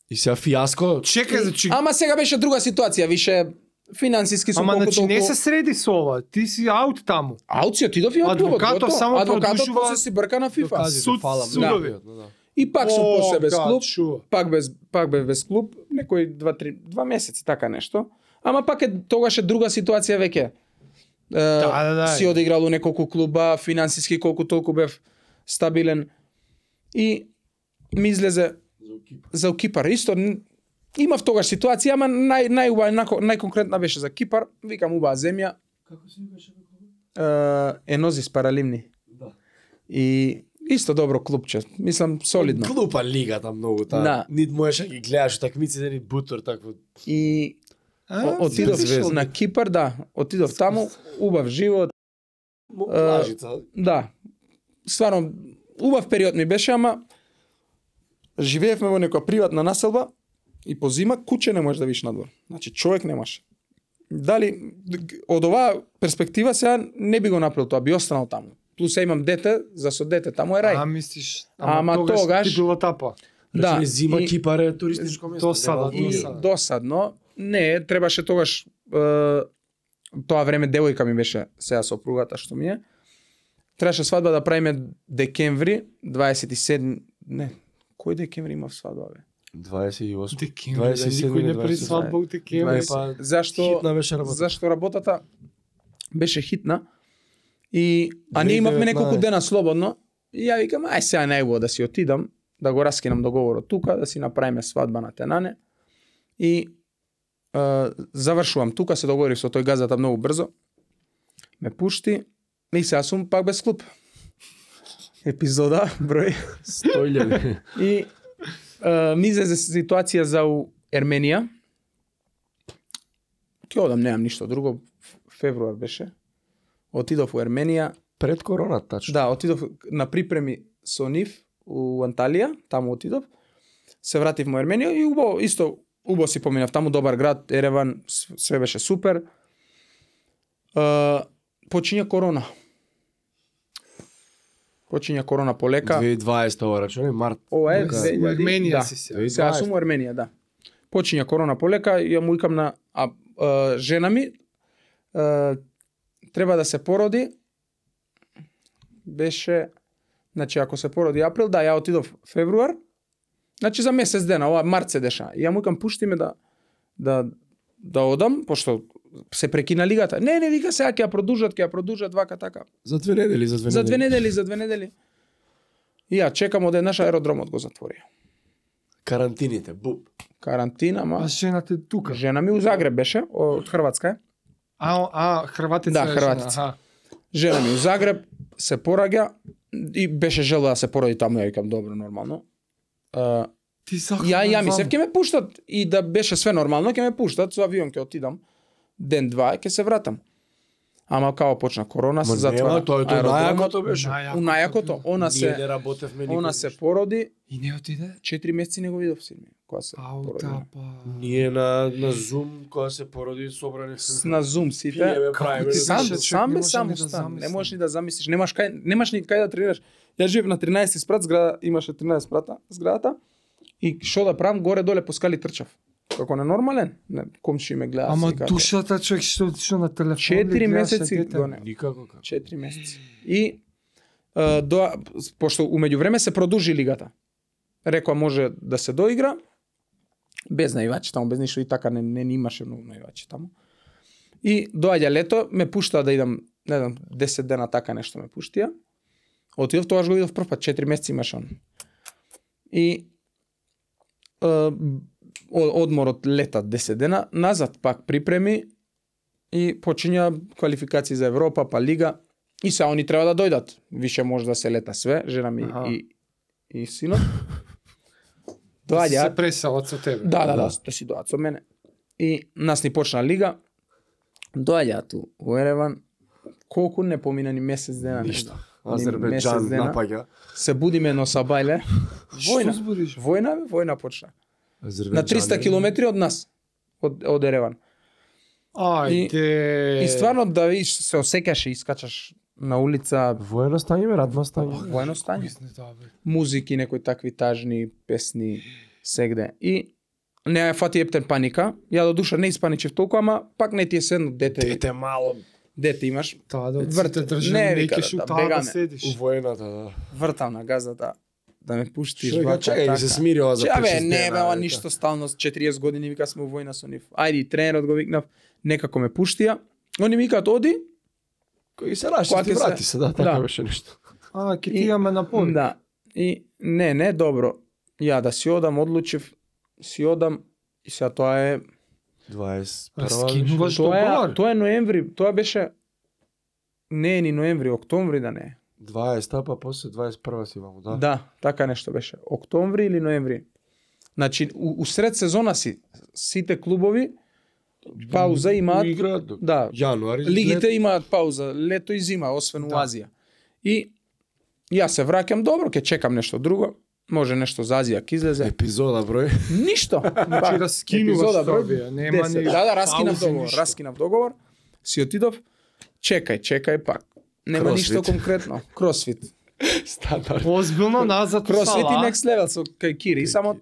S4: И сега фиаско.
S1: Чекай, значи...
S3: Ама сега беше друга ситуација, више финансиски сум
S1: Ама,
S3: колку
S1: значи, не
S3: толку-
S1: се среди со ова. Ти си аут таму.
S3: Аут си отидов и од клубот.
S1: Адвокатот
S3: готово.
S1: само
S3: Адвокатот
S1: продолжува
S3: после си брка на FIFA.
S4: Докази,
S1: Суд,
S4: фала,
S1: судови.
S4: Да, да, да.
S3: И пак сум
S1: О,
S3: после без
S1: гад,
S3: клуб.
S1: Чува.
S3: пак без пак бе без клуб, некои два три два месеци така нешто. Ама пак е тогаш е друга ситуација веќе. Е,
S1: Да, да, да.
S3: Си одиграл у неколку клуба, финансиски колку толку бев стабилен. И ми излезе за у Кипар. Исто н- имав тогаш ситуација, ама нај најубава нако- најконкретна беше за Кипар. Викам убава земја. Како се беше? Е, Енозис Паралимни.
S4: Да.
S3: И исто добро клубче. Мислам солидно.
S4: Глупа лигата многу таа.
S3: Да.
S4: Нит можеш да ги гледаш такмиците, нит бутор такво.
S3: И
S1: А,
S3: О-
S1: си
S3: Отидов
S1: отишел на-
S3: на Кипар, да. Отидов таму, убав живот.
S4: Мо плажица.
S3: Да. Стварно, убав период ми беше, ама живеевме во некоја приватна населба и по зима куче не можеш да виш надвор. Значи човек немаш. Дали г- од оваа перспектива сега не би го направил тоа, би останал таму. Плюс ја имам дете, за со дете таму е
S1: А,
S3: рај.
S1: мислиш,
S3: Ама тогаш-
S1: ти било тапа.
S3: Да.
S2: значи,
S4: Речеме, Значи, зима
S3: и-
S4: Кипар е туристичко место.
S1: досада,
S4: нема луѓе.
S3: И
S1: досада.
S3: досадно, не, требаше тогаш е, тоа време девојка ми беше сега сопругата што ми е. Требаше свадба да правиме декември 27 не, кој декември имав свадба бе?
S2: 28.
S1: Декември, да,
S2: 27,
S1: никој не
S2: 27.
S1: прави свадба у декември.
S3: 20.
S1: па.
S3: Зашто
S4: Хитна беше работа.
S3: зашто работата беше хитна и а ние
S2: 2019.
S3: имавме неколку дена слободно и ја викам ај сега најубаво да си отидам да го раскинам договорот тука да си направиме свадба на Тенане и е, завршувам тука се договорив со тој газдата многу брзо ме пушти и сега сум пак без клуб епизода број
S4: Стојле.
S3: И е, ми излезе ситуација за у Ерменија. Ќе одам, немам ништо друго. Ф- Февруар беше. Отидов у Ерменија.
S2: Пред корона, тачно.
S3: Да, отидов на припреми со нив у Анталија, таму отидов. Се вратив во Ерменија и убо, исто убо си поминав таму, добар град, Ереван, с- све беше супер. Е, почиња корона. Почиња корона полека.
S4: 2020 ова рачуни, март.
S3: така. Ова е
S4: Да.
S1: Си у
S3: 2000
S1: Ерменија
S3: да.
S1: си се.
S3: Сега сум во Ерменија, да. Почиња корона полека и ја му викам на а, а, жена ми а, треба да се породи беше значи ако се породи април, да, ја отидов февруар. Значи за месец дена, ова март се деша. И ја му викам пушти ме да да да одам, пошто се прекина лигата. Не, не, вика сега ќе ја продужат, ќе ја продужат вака така.
S4: За две недели, за две
S3: За две
S4: недели.
S3: недели, за две недели. И ја чекам одеднаш аеродромот го затвори.
S4: Карантините, буп.
S3: Карантина, ма.
S1: А жената е тука.
S3: Жена ми у Загреб беше, од Хрватска е.
S1: А, а, Хрватица
S3: Да,
S1: е жена,
S3: Хрватица.
S1: аха.
S3: Жена ми у Загреб се пораѓа и беше желела да се породи таму, ја викам добро, нормално. А,
S1: Ти сакаш. да
S3: ја ја мислев ќе ме пуштат и да беше све нормално, ќе ме пуштат, со авион ќе отидам ден два ќе се вратам. Ама као почна корона, се
S4: Ма нема,
S3: затвора.
S4: тоа е тоа
S3: аеродромот.
S4: најакото беше.
S3: У најакото, она
S4: Ние не
S3: се
S4: работевме никој.
S3: она се породи,
S1: И не отиде?
S3: 4 месеци не го видов син ми, кога се
S1: Ау,
S3: породи.
S1: да, па.
S4: Ние на, на Zoom, која се породи, собрани
S3: С- на Zoom сите.
S4: Пиеме, правиме.
S1: ти
S3: сам,
S1: знаеш,
S3: сам,
S1: човек,
S3: сам
S1: не
S3: бе
S1: можам
S3: сам
S1: ни да
S3: стан. Не
S1: замислам.
S3: можеш ни да замислиш. Немаш кај, немаш ни кај да тренираш. Ја живеев на 13 спрат зграда, имаше 13 спрата зградата. И што да правам, горе доле по скали трчав. Како ненормален. Не, комши ме гледа.
S1: Ама душата човек што отишо на телефон.
S3: Четири
S1: и така. гледаше
S3: месеци
S1: дете.
S3: го не.
S4: Никако
S2: Така.
S4: како.
S3: 4 месеци. И е, до, пошто умеѓу време се продужи лигата. Рекоа може да се доигра без наивачи таму, без ништо и така не, не, не имаше многу наивачи таму. И доаѓа лето, ме пуштаа да идам, не знам, 10 дена така нешто ме пуштија. Отидов тогаш го видов прв пат, 4 месеци имаше он. И е, о- одмор од лета 10 дена, назад пак припреми и почиња квалификации за Европа, па лига. И сега они треба да дојдат. Више може да се лета све, жена ми
S1: Аха.
S3: и, и синот.
S1: Да си
S3: Доаѓа,
S1: се преселат со тебе.
S3: Да, да, да, да си доаѓаат со мене. И нас ни почна лига. Доаѓаат ту во Ереван. Колку не помина ни месец дена. не
S4: Ништо.
S3: знам. Ни месец
S4: Азербејджан
S3: дена.
S4: напаѓа.
S3: Се будиме но сабајле.
S1: Што
S3: Војна.
S1: збориш?
S3: Војна, бе, војна почна. на 300 километри од нас, од, од Ереван.
S1: Ајде.
S3: И стварно да видиш се осекаш и искачаш на улица,
S2: Воено стање, бе, радно стање.
S3: воено стање.
S1: да,
S3: музики, некои такви тажни песни сегде. И не ја фати ептен паника. Ја до душа не испаничев толку, ама пак не ти е седно дете. Дете,
S2: мало.
S3: имаш.
S1: Та, да,
S3: Врте,
S1: врте држи,
S3: не,
S1: не,
S3: вика,
S1: викаш у
S3: да,
S1: таа да
S3: бегаме.
S1: седиш.
S2: Воената, да.
S3: Вртам на газата да ме пуштиш.
S4: Чекай,
S3: така.
S4: чекай, така. ми се смири ова Па за
S3: Че, абе,
S4: 5-6
S3: не,
S4: дена,
S3: бе, ова
S4: вика.
S3: ништо стално, 40 години вика сме во војна со нив. Ајде, и тренерот го викнав, некако ме пуштија. Они ми викаат, оди,
S4: Кој се раши,
S3: Кој
S4: ти
S3: ќе се-
S4: врати се, да, така
S3: Да.
S4: беше нешто.
S1: А, ке
S3: И-
S1: ти имаме на поле.
S3: Да. И не, не, добро. Ја да си одам, одлучив, си одам, и сега тоа е
S2: 20.
S1: Раскинуваш
S3: тоа е,
S1: договор.
S3: тоа е ноември, тоа беше не е ни ноември, октомври да не е.
S2: 20, па после 21 си имамо, да.
S3: Да, така нешто беше. Октомври или ноември. Значи, у, усред сезона си, сите клубови пауза имаат,
S4: Играат до
S3: да,
S4: јануари.
S3: лигите имаат пауза, лето и зима, освен у
S1: Да.
S3: Азија. И јас се враќам, добро, ќе чекам нешто друго, може нешто за Азија ќе излезе.
S4: епизода број.
S3: Ништо.
S1: Значи,
S3: Ба,
S1: раскинуваш
S3: епизода
S1: тоа,
S3: број
S1: бе, нема
S3: 10.
S1: ни
S3: Да, да, раскинав
S1: паузи,
S3: договор,
S1: ништо.
S3: раскинав договор. Си отидов, чекај, чекај пак. Нема
S4: Кросфит.
S3: ништо конкретно. Кросфит.
S4: Стандард.
S1: Озбилно назад у
S3: Кросфит и
S1: сала.
S3: next level со кај Кири. Само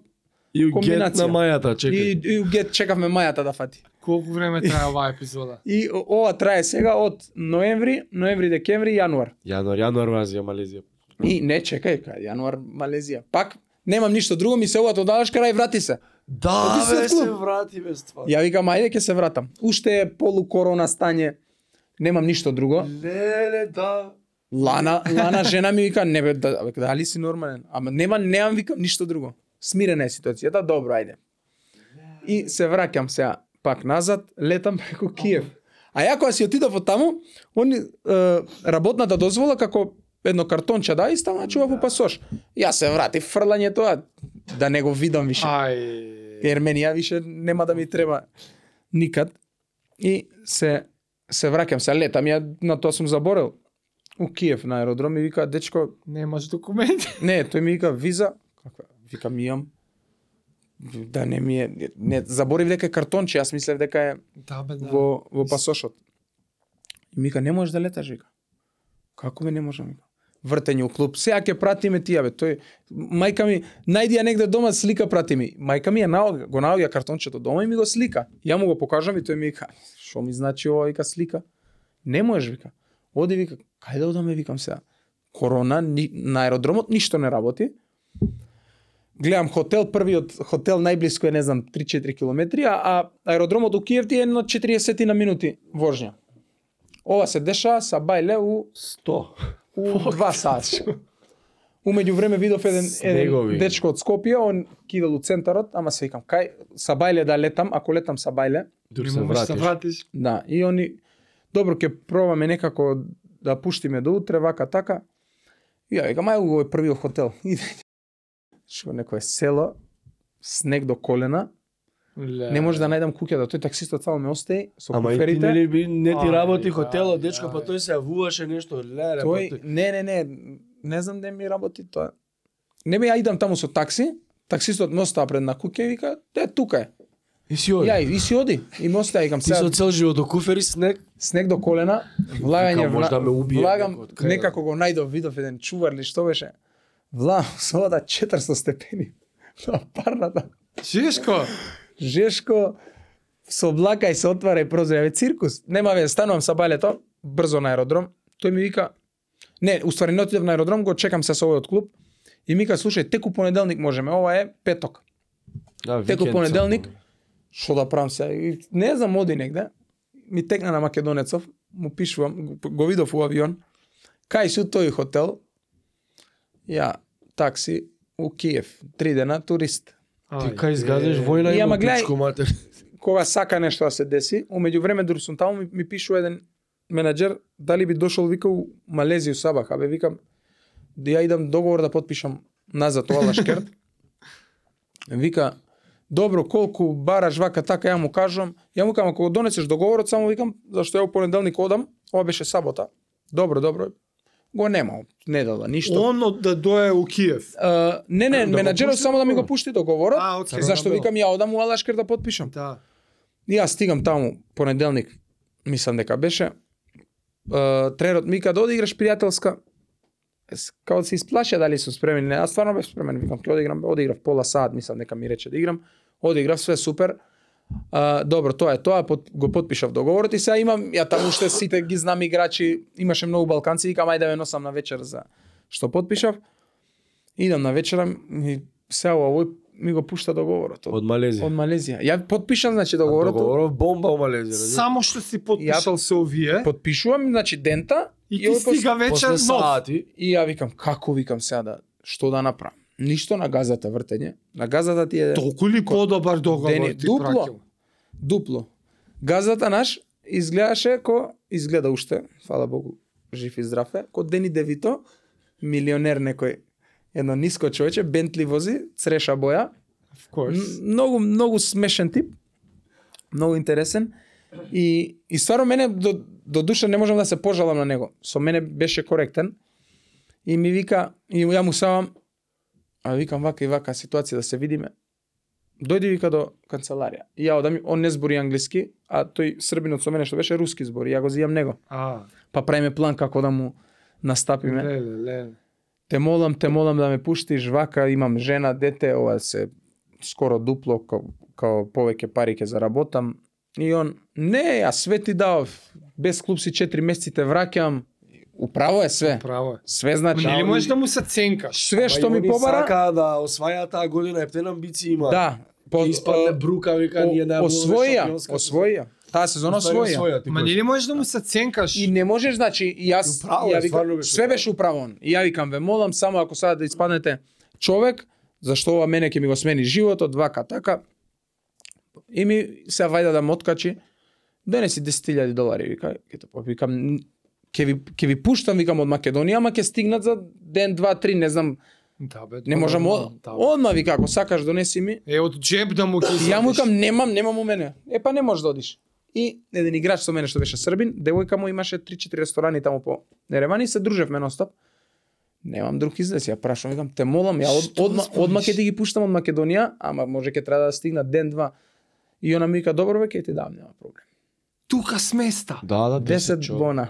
S4: И у гет на
S3: Комбинација.
S4: мајата, чекај.
S3: и, и у гет чекавме мајата да фати.
S1: Колку време трае оваа епизода?
S3: И о- ова трае сега од ноември, ноември, декември, јануар.
S2: Јануар, јануар, Азија, Малезија.
S3: И не, чекај, кај јануар Малезија. Пак немам ништо друго, ми се овато одаваш крај, врати се.
S4: Да,
S3: Оди се
S4: бе,
S3: в
S4: се
S3: клуб.
S4: врати без ствар.
S3: Ја викам, ајде ќе се вратам. Уште е полукорона стање. Немам ништо друго.
S4: Леле, да.
S3: Лана, Лана жена ми вика, не бе, да, бе, дали си нормален? Ама нема, немам викам ништо друго. Смирена е ситуацијата, добро, ајде. И се враќам сега пак назад, летам преку Киев. А ја кога си отидов од таму, они е, работната дозвола како едно картонче да и станачува во пасош. Ја се врати фрлање тоа да не го видам више.
S1: Ај.
S3: Ерменија више нема да ми треба никад. И се се враќам се летам, ја на тоа сум заборел. У Киев на аеродром и вика дечко,
S1: Немаш документи.
S3: не, тој ми вика виза, каква? Викам имам. Да не ми е, не, заборив дека е картонче, јас мислев дека е
S1: Да, бе, да.
S3: во, во пасошот. И ми вика, не можеш да леташ, вика. Како ме не можам, вика. Вртење у клуб, сега ќе пратиме тија, бе. Тој, мајка ми, најди ја негде дома, слика прати ми. Мајка ми ја наоѓа, го наоѓа картончето дома и ми го слика. Ја му го покажам и тој ми вика, што ми значи ова, вика, слика. Не можеш, вика. Оди, вика, кај да одаме, викам сега. Корона, ни, на аеродромот ништо не работи. Гледам хотел, првиот хотел најблиско е, не знам, 3-4 километри, а, а аеродромот у Киев ти е на 40 на минути воžња. Ова се деша са бајле у
S4: 100.
S3: у 2 сати. Умеѓу време видов еден,
S4: Снегови.
S3: еден дечко од Скопје, он кидел у центарот, ама се викам, кај са бајле да летам, ако летам са бајле,
S4: Дур
S1: Не
S4: се
S1: можеш да
S4: вратиш.
S1: вратиш.
S3: Да, и они добро ќе пробаме некако да пуштиме до утре вака така. И ја викам, ај овој е првиот хотел. Иде. Што некое село, снег до колена,
S1: Ле.
S3: не може да најдам куќата, тој таксистот само ме остеи со
S4: Ама и ти
S3: куферите.
S4: нели би не ти
S1: Ај,
S4: работи
S1: ај,
S4: хотелот, дечко,
S1: ај.
S4: па тој се јавуваше нешто, леле, па
S3: да, Тој
S4: тој.
S3: не, не, не, не знам ден ми работи тоа. Не бе, ја идам таму со такси, таксистот ме остава пред на куќа и вика, е тука е.
S4: И си оди.
S3: Ја и си оди. И ме остава, викам,
S4: Ти
S3: сега
S4: со цел живот до куфери снег.
S3: снег до колена, влагање
S4: Викам, може да ме убие
S3: влагам
S4: некој од крајот.
S3: некако го најдов, видов еден чувар или што беше. Влагам со вода 400 степени. На парната.
S1: Чишко,
S3: Жешко со облака и се отвара и прозор, еве циркус. Нема ве, станувам са балето, брзо на аеродром. Тој ми вика, не, уствари не отидов на аеродром, го чекам се со овој од клуб. И ми вика, слушај, теку понеделник можеме, ова е петок.
S4: Да, викенд
S3: Теку
S4: само.
S3: понеделник, што да правам се? Не знам, оди негде. Ми текна на Македонецов, му пишувам, го- го видов у авион. Кај си у тој хотел? Ја, такси, у Киев, три дена, турист.
S4: Ти
S1: Ај,
S4: кај изгазиш војна
S3: И,
S4: и
S3: ама,
S4: ама
S3: гледај-
S4: гледај. матер.
S3: Кога сака нешто да се деси, умеѓу време дури сум таму ми, ми пишува еден менаџер дали би дошол вика у Малезија Сабах, абе викам да ја идам договор да потпишам назад ова лашкерт. вика Добро, колку бараш вака така ја му кажам. Ја му кажам ако го донесеш договорот само викам зашто ја во понеделник одам, ова беше сабота. Добро, добро. го нема. Недела, ништо.
S1: Он од да дое у Киев.
S3: Е, не,
S2: Да
S3: не,
S2: го
S3: менаджерот
S2: пушти
S3: само да ми го
S2: договорот.
S3: пушти договорот.
S1: А, окей.
S3: Зашто
S1: Добро.
S3: викам ја одам у Алашкер да потпишам.
S1: Да.
S3: И јас стигам таму понеделник, мислам дека беше. Е, тренерот ми ка да одиграш пријателска. Ес, Као да се исплаша дали сум спремен или не. Аз стварно бев спремен, викам ќе одиграм, бе, одиграв пола сат, мислам дека ми рече да играм. Одиграв све супер. А, добро, тоа е тоа, под, го потпишав договорот и сега имам, ја таму уште сите ги знам играчи, имаше многу балканци, викам ајде да ве носам на вечер за што потпишав. Идам на вечера и сега овој ми го пушта договорот од,
S4: Од Малезија.
S3: од Малезија. Ја потпишам значи договорот.
S4: Договоров бомба у Малезија. разбираш?
S1: Само што си потпишал се овие
S3: Подпишувам, значи дента
S1: и
S3: овој
S1: ти
S3: пос-
S1: стига вечер
S4: После
S1: нов.
S4: сати,
S3: и ја викам како викам сега да што да направам. Ништо на газата вртење. На газата ти е
S1: Толку ли подобар договор
S3: Дени,
S1: ти
S3: дупло.
S1: пракил?
S3: дупло. Газата наш изгледаше ко изгледа уште, фала Богу, жив и здрав е, ко Дени Девито, милионер некој, едно ниско човече, Бентли вози, цреша боја,
S1: Of course.
S3: М- Многу, многу смешен тип. Многу интересен. И, и стварно мене до, до душа не можам да се пожалам на него. Со мене беше коректен. И ми вика, и ја му савам, а викам вака и вака ситуација да се видиме. Дојди вика до канцеларија. И ја одам, он не збори англиски, а тој србинот со мене што беше руски збори. Ја го зијам него.
S1: А,
S3: Па правиме план како да му настапиме
S1: леле, леле.
S3: те молам, те молам да ме пуштиш вака, имам жена, дете, ова се скоро дупло, као, као повеќе пари ќе заработам. И он, не, а све ти дав, без клуб си 4 месеци те враќам. Управо е све.
S1: Право е.
S3: Све значи.
S1: Нели можеш да му се ценкаш?
S3: Све што ми побара,
S4: Сака да осваја таа година, ептен амбиции има.
S3: да,
S4: Ќе испадне брука, вика, ние
S2: да
S4: најавуваме
S3: о- освоја,
S4: шампионска
S3: освоја. Таа сезона освоја.
S4: Освоја, ти
S1: Ма
S4: кажеш.
S1: нели можеш да му се ценкаш?
S3: И не можеш, значи, и јас,
S4: Управо е,
S3: ја
S4: стварно
S3: викам,
S4: беше
S3: све
S4: управо.
S3: беше управо он. И ја викам, ве молам, само ако сега да испаднете човек, зашто ова мене ќе ми го смени животот, вака, така. И ми се вајда да ме откачи, донеси 10.000 долари, вика, ќе те попи- викам, н- ќе ви, ќе ви пуштам, викам, од Македонија, ама ќе стигнат за ден, два, три, не знам,
S1: Да, бе,
S3: не
S4: Па
S1: тоа
S3: можам,
S1: е
S3: од-
S1: нормално, да.
S3: одма, вика, ако сакаш, донеси ми.
S1: Е, од джеб да му ги
S3: И ја му
S1: извадиш.
S3: викам, немам, немам у мене. Е, па не можеш да одиш. И еден играч со мене што беше србин, девојка му имаше 3-4 ресторани таму по Ереван и се дружевме нонстоп. Немам друг излез, ја прашам, викам, те молам, ја од,
S1: Што
S3: одма,
S1: спориш?
S3: одма ќе ти ги пуштам од Македонија, ама може ќе треба да стигна ден-два. И она ми вика, добро бе, ќе ти дам, нема проблем.
S1: Тука сместа.
S4: Да, да,
S3: 10
S4: човек.
S3: бона.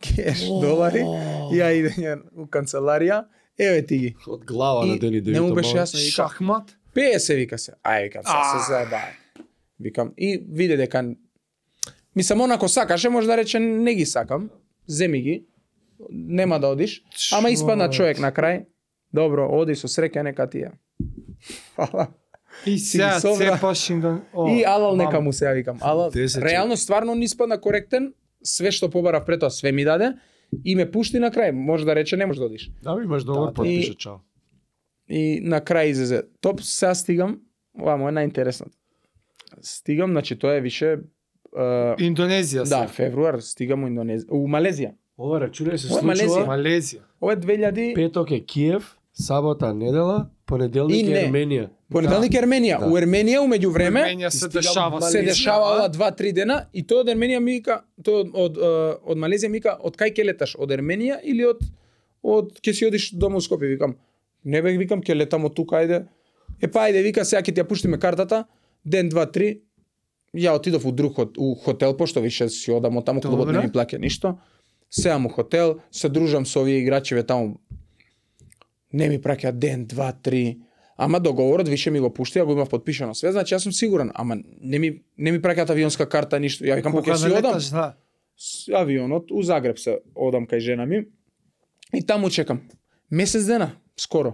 S3: Кеш, долари, ја идења у канцеларија, еве ти ги.
S4: Од глава на
S3: Значи, И
S4: Дени
S3: не
S4: Девито.
S3: му беше
S4: мало.
S3: јасно, вика,
S1: Шахмат.
S3: 50 вика се. Ај викам се,
S1: А.
S3: се заеба. Викам и виде дека мислам онако сакаше, може да рече не ги сакам. Земи ги. Нема да одиш. Ама испадна
S1: Човек.
S3: човек на крај. Добро, оди со среќа нека ти е. Фала.
S1: И сега
S3: ги собра.
S1: цепаш им да... О,
S3: И алал нека
S1: мам.
S3: му се ја викам. Алал,
S4: 10 човек.
S3: реално стварно не испадна коректен. Све што побарав претоа све ми даде и ме пушти на крај. Може да рече не може да одиш.
S4: Да, ми имаш
S3: Да,
S4: договор,
S3: и-
S4: подпиша, чао.
S3: И на крај излезе. Топ, сега стигам. Ова му е најинтересното. Стигам, значи тоа е више... е,
S1: Индонезија
S3: да,
S1: се.
S3: февруар стигам у Индонезија, у Малезија.
S4: Ова рачуне се
S3: Ова е Малезија.
S4: случува.
S1: Малезија.
S3: Ова е 2000...
S4: Петок е Киев, сабота недела, понеделник
S3: И не.
S4: е Ерменија.
S3: Понеделник Ерменија.
S4: Да.
S3: У Ерменија уmeѓу време
S1: Менја се
S4: стига Малезија,
S1: дешава.
S3: се
S1: ситуација,
S3: дешавала 2-3 дена и тој од Ерменија ми вика, тој од од, е, од Малезија ми вика, од кај ќе леташ, од Ерменија или од од ќе си одиш дома у Скопје, викам. Не бе, викам ќе летам од тука, ајде. Е па ајде, вика, сега ќе ти ја пуштиме картата, ден, два, три. Ја отидов у друг хот- у хотел, пошто више си одам од таму, клубот не
S1: Добра.
S3: ми плаќа ништо. Сеам у хотел, се дружам со овие играчеве таму. Не ми праќа ден, два, три. Ама договорот више ми го пушти, ја го имав подпишано све, значи јас сум сигурен, ама не ми не ми праќаат авионска карта ништо. Ја викам па
S1: Кога
S3: ќе си одам
S1: налеташ, да.
S3: с авионот у Загреб се одам кај жена ми и таму чекам месец дена скоро.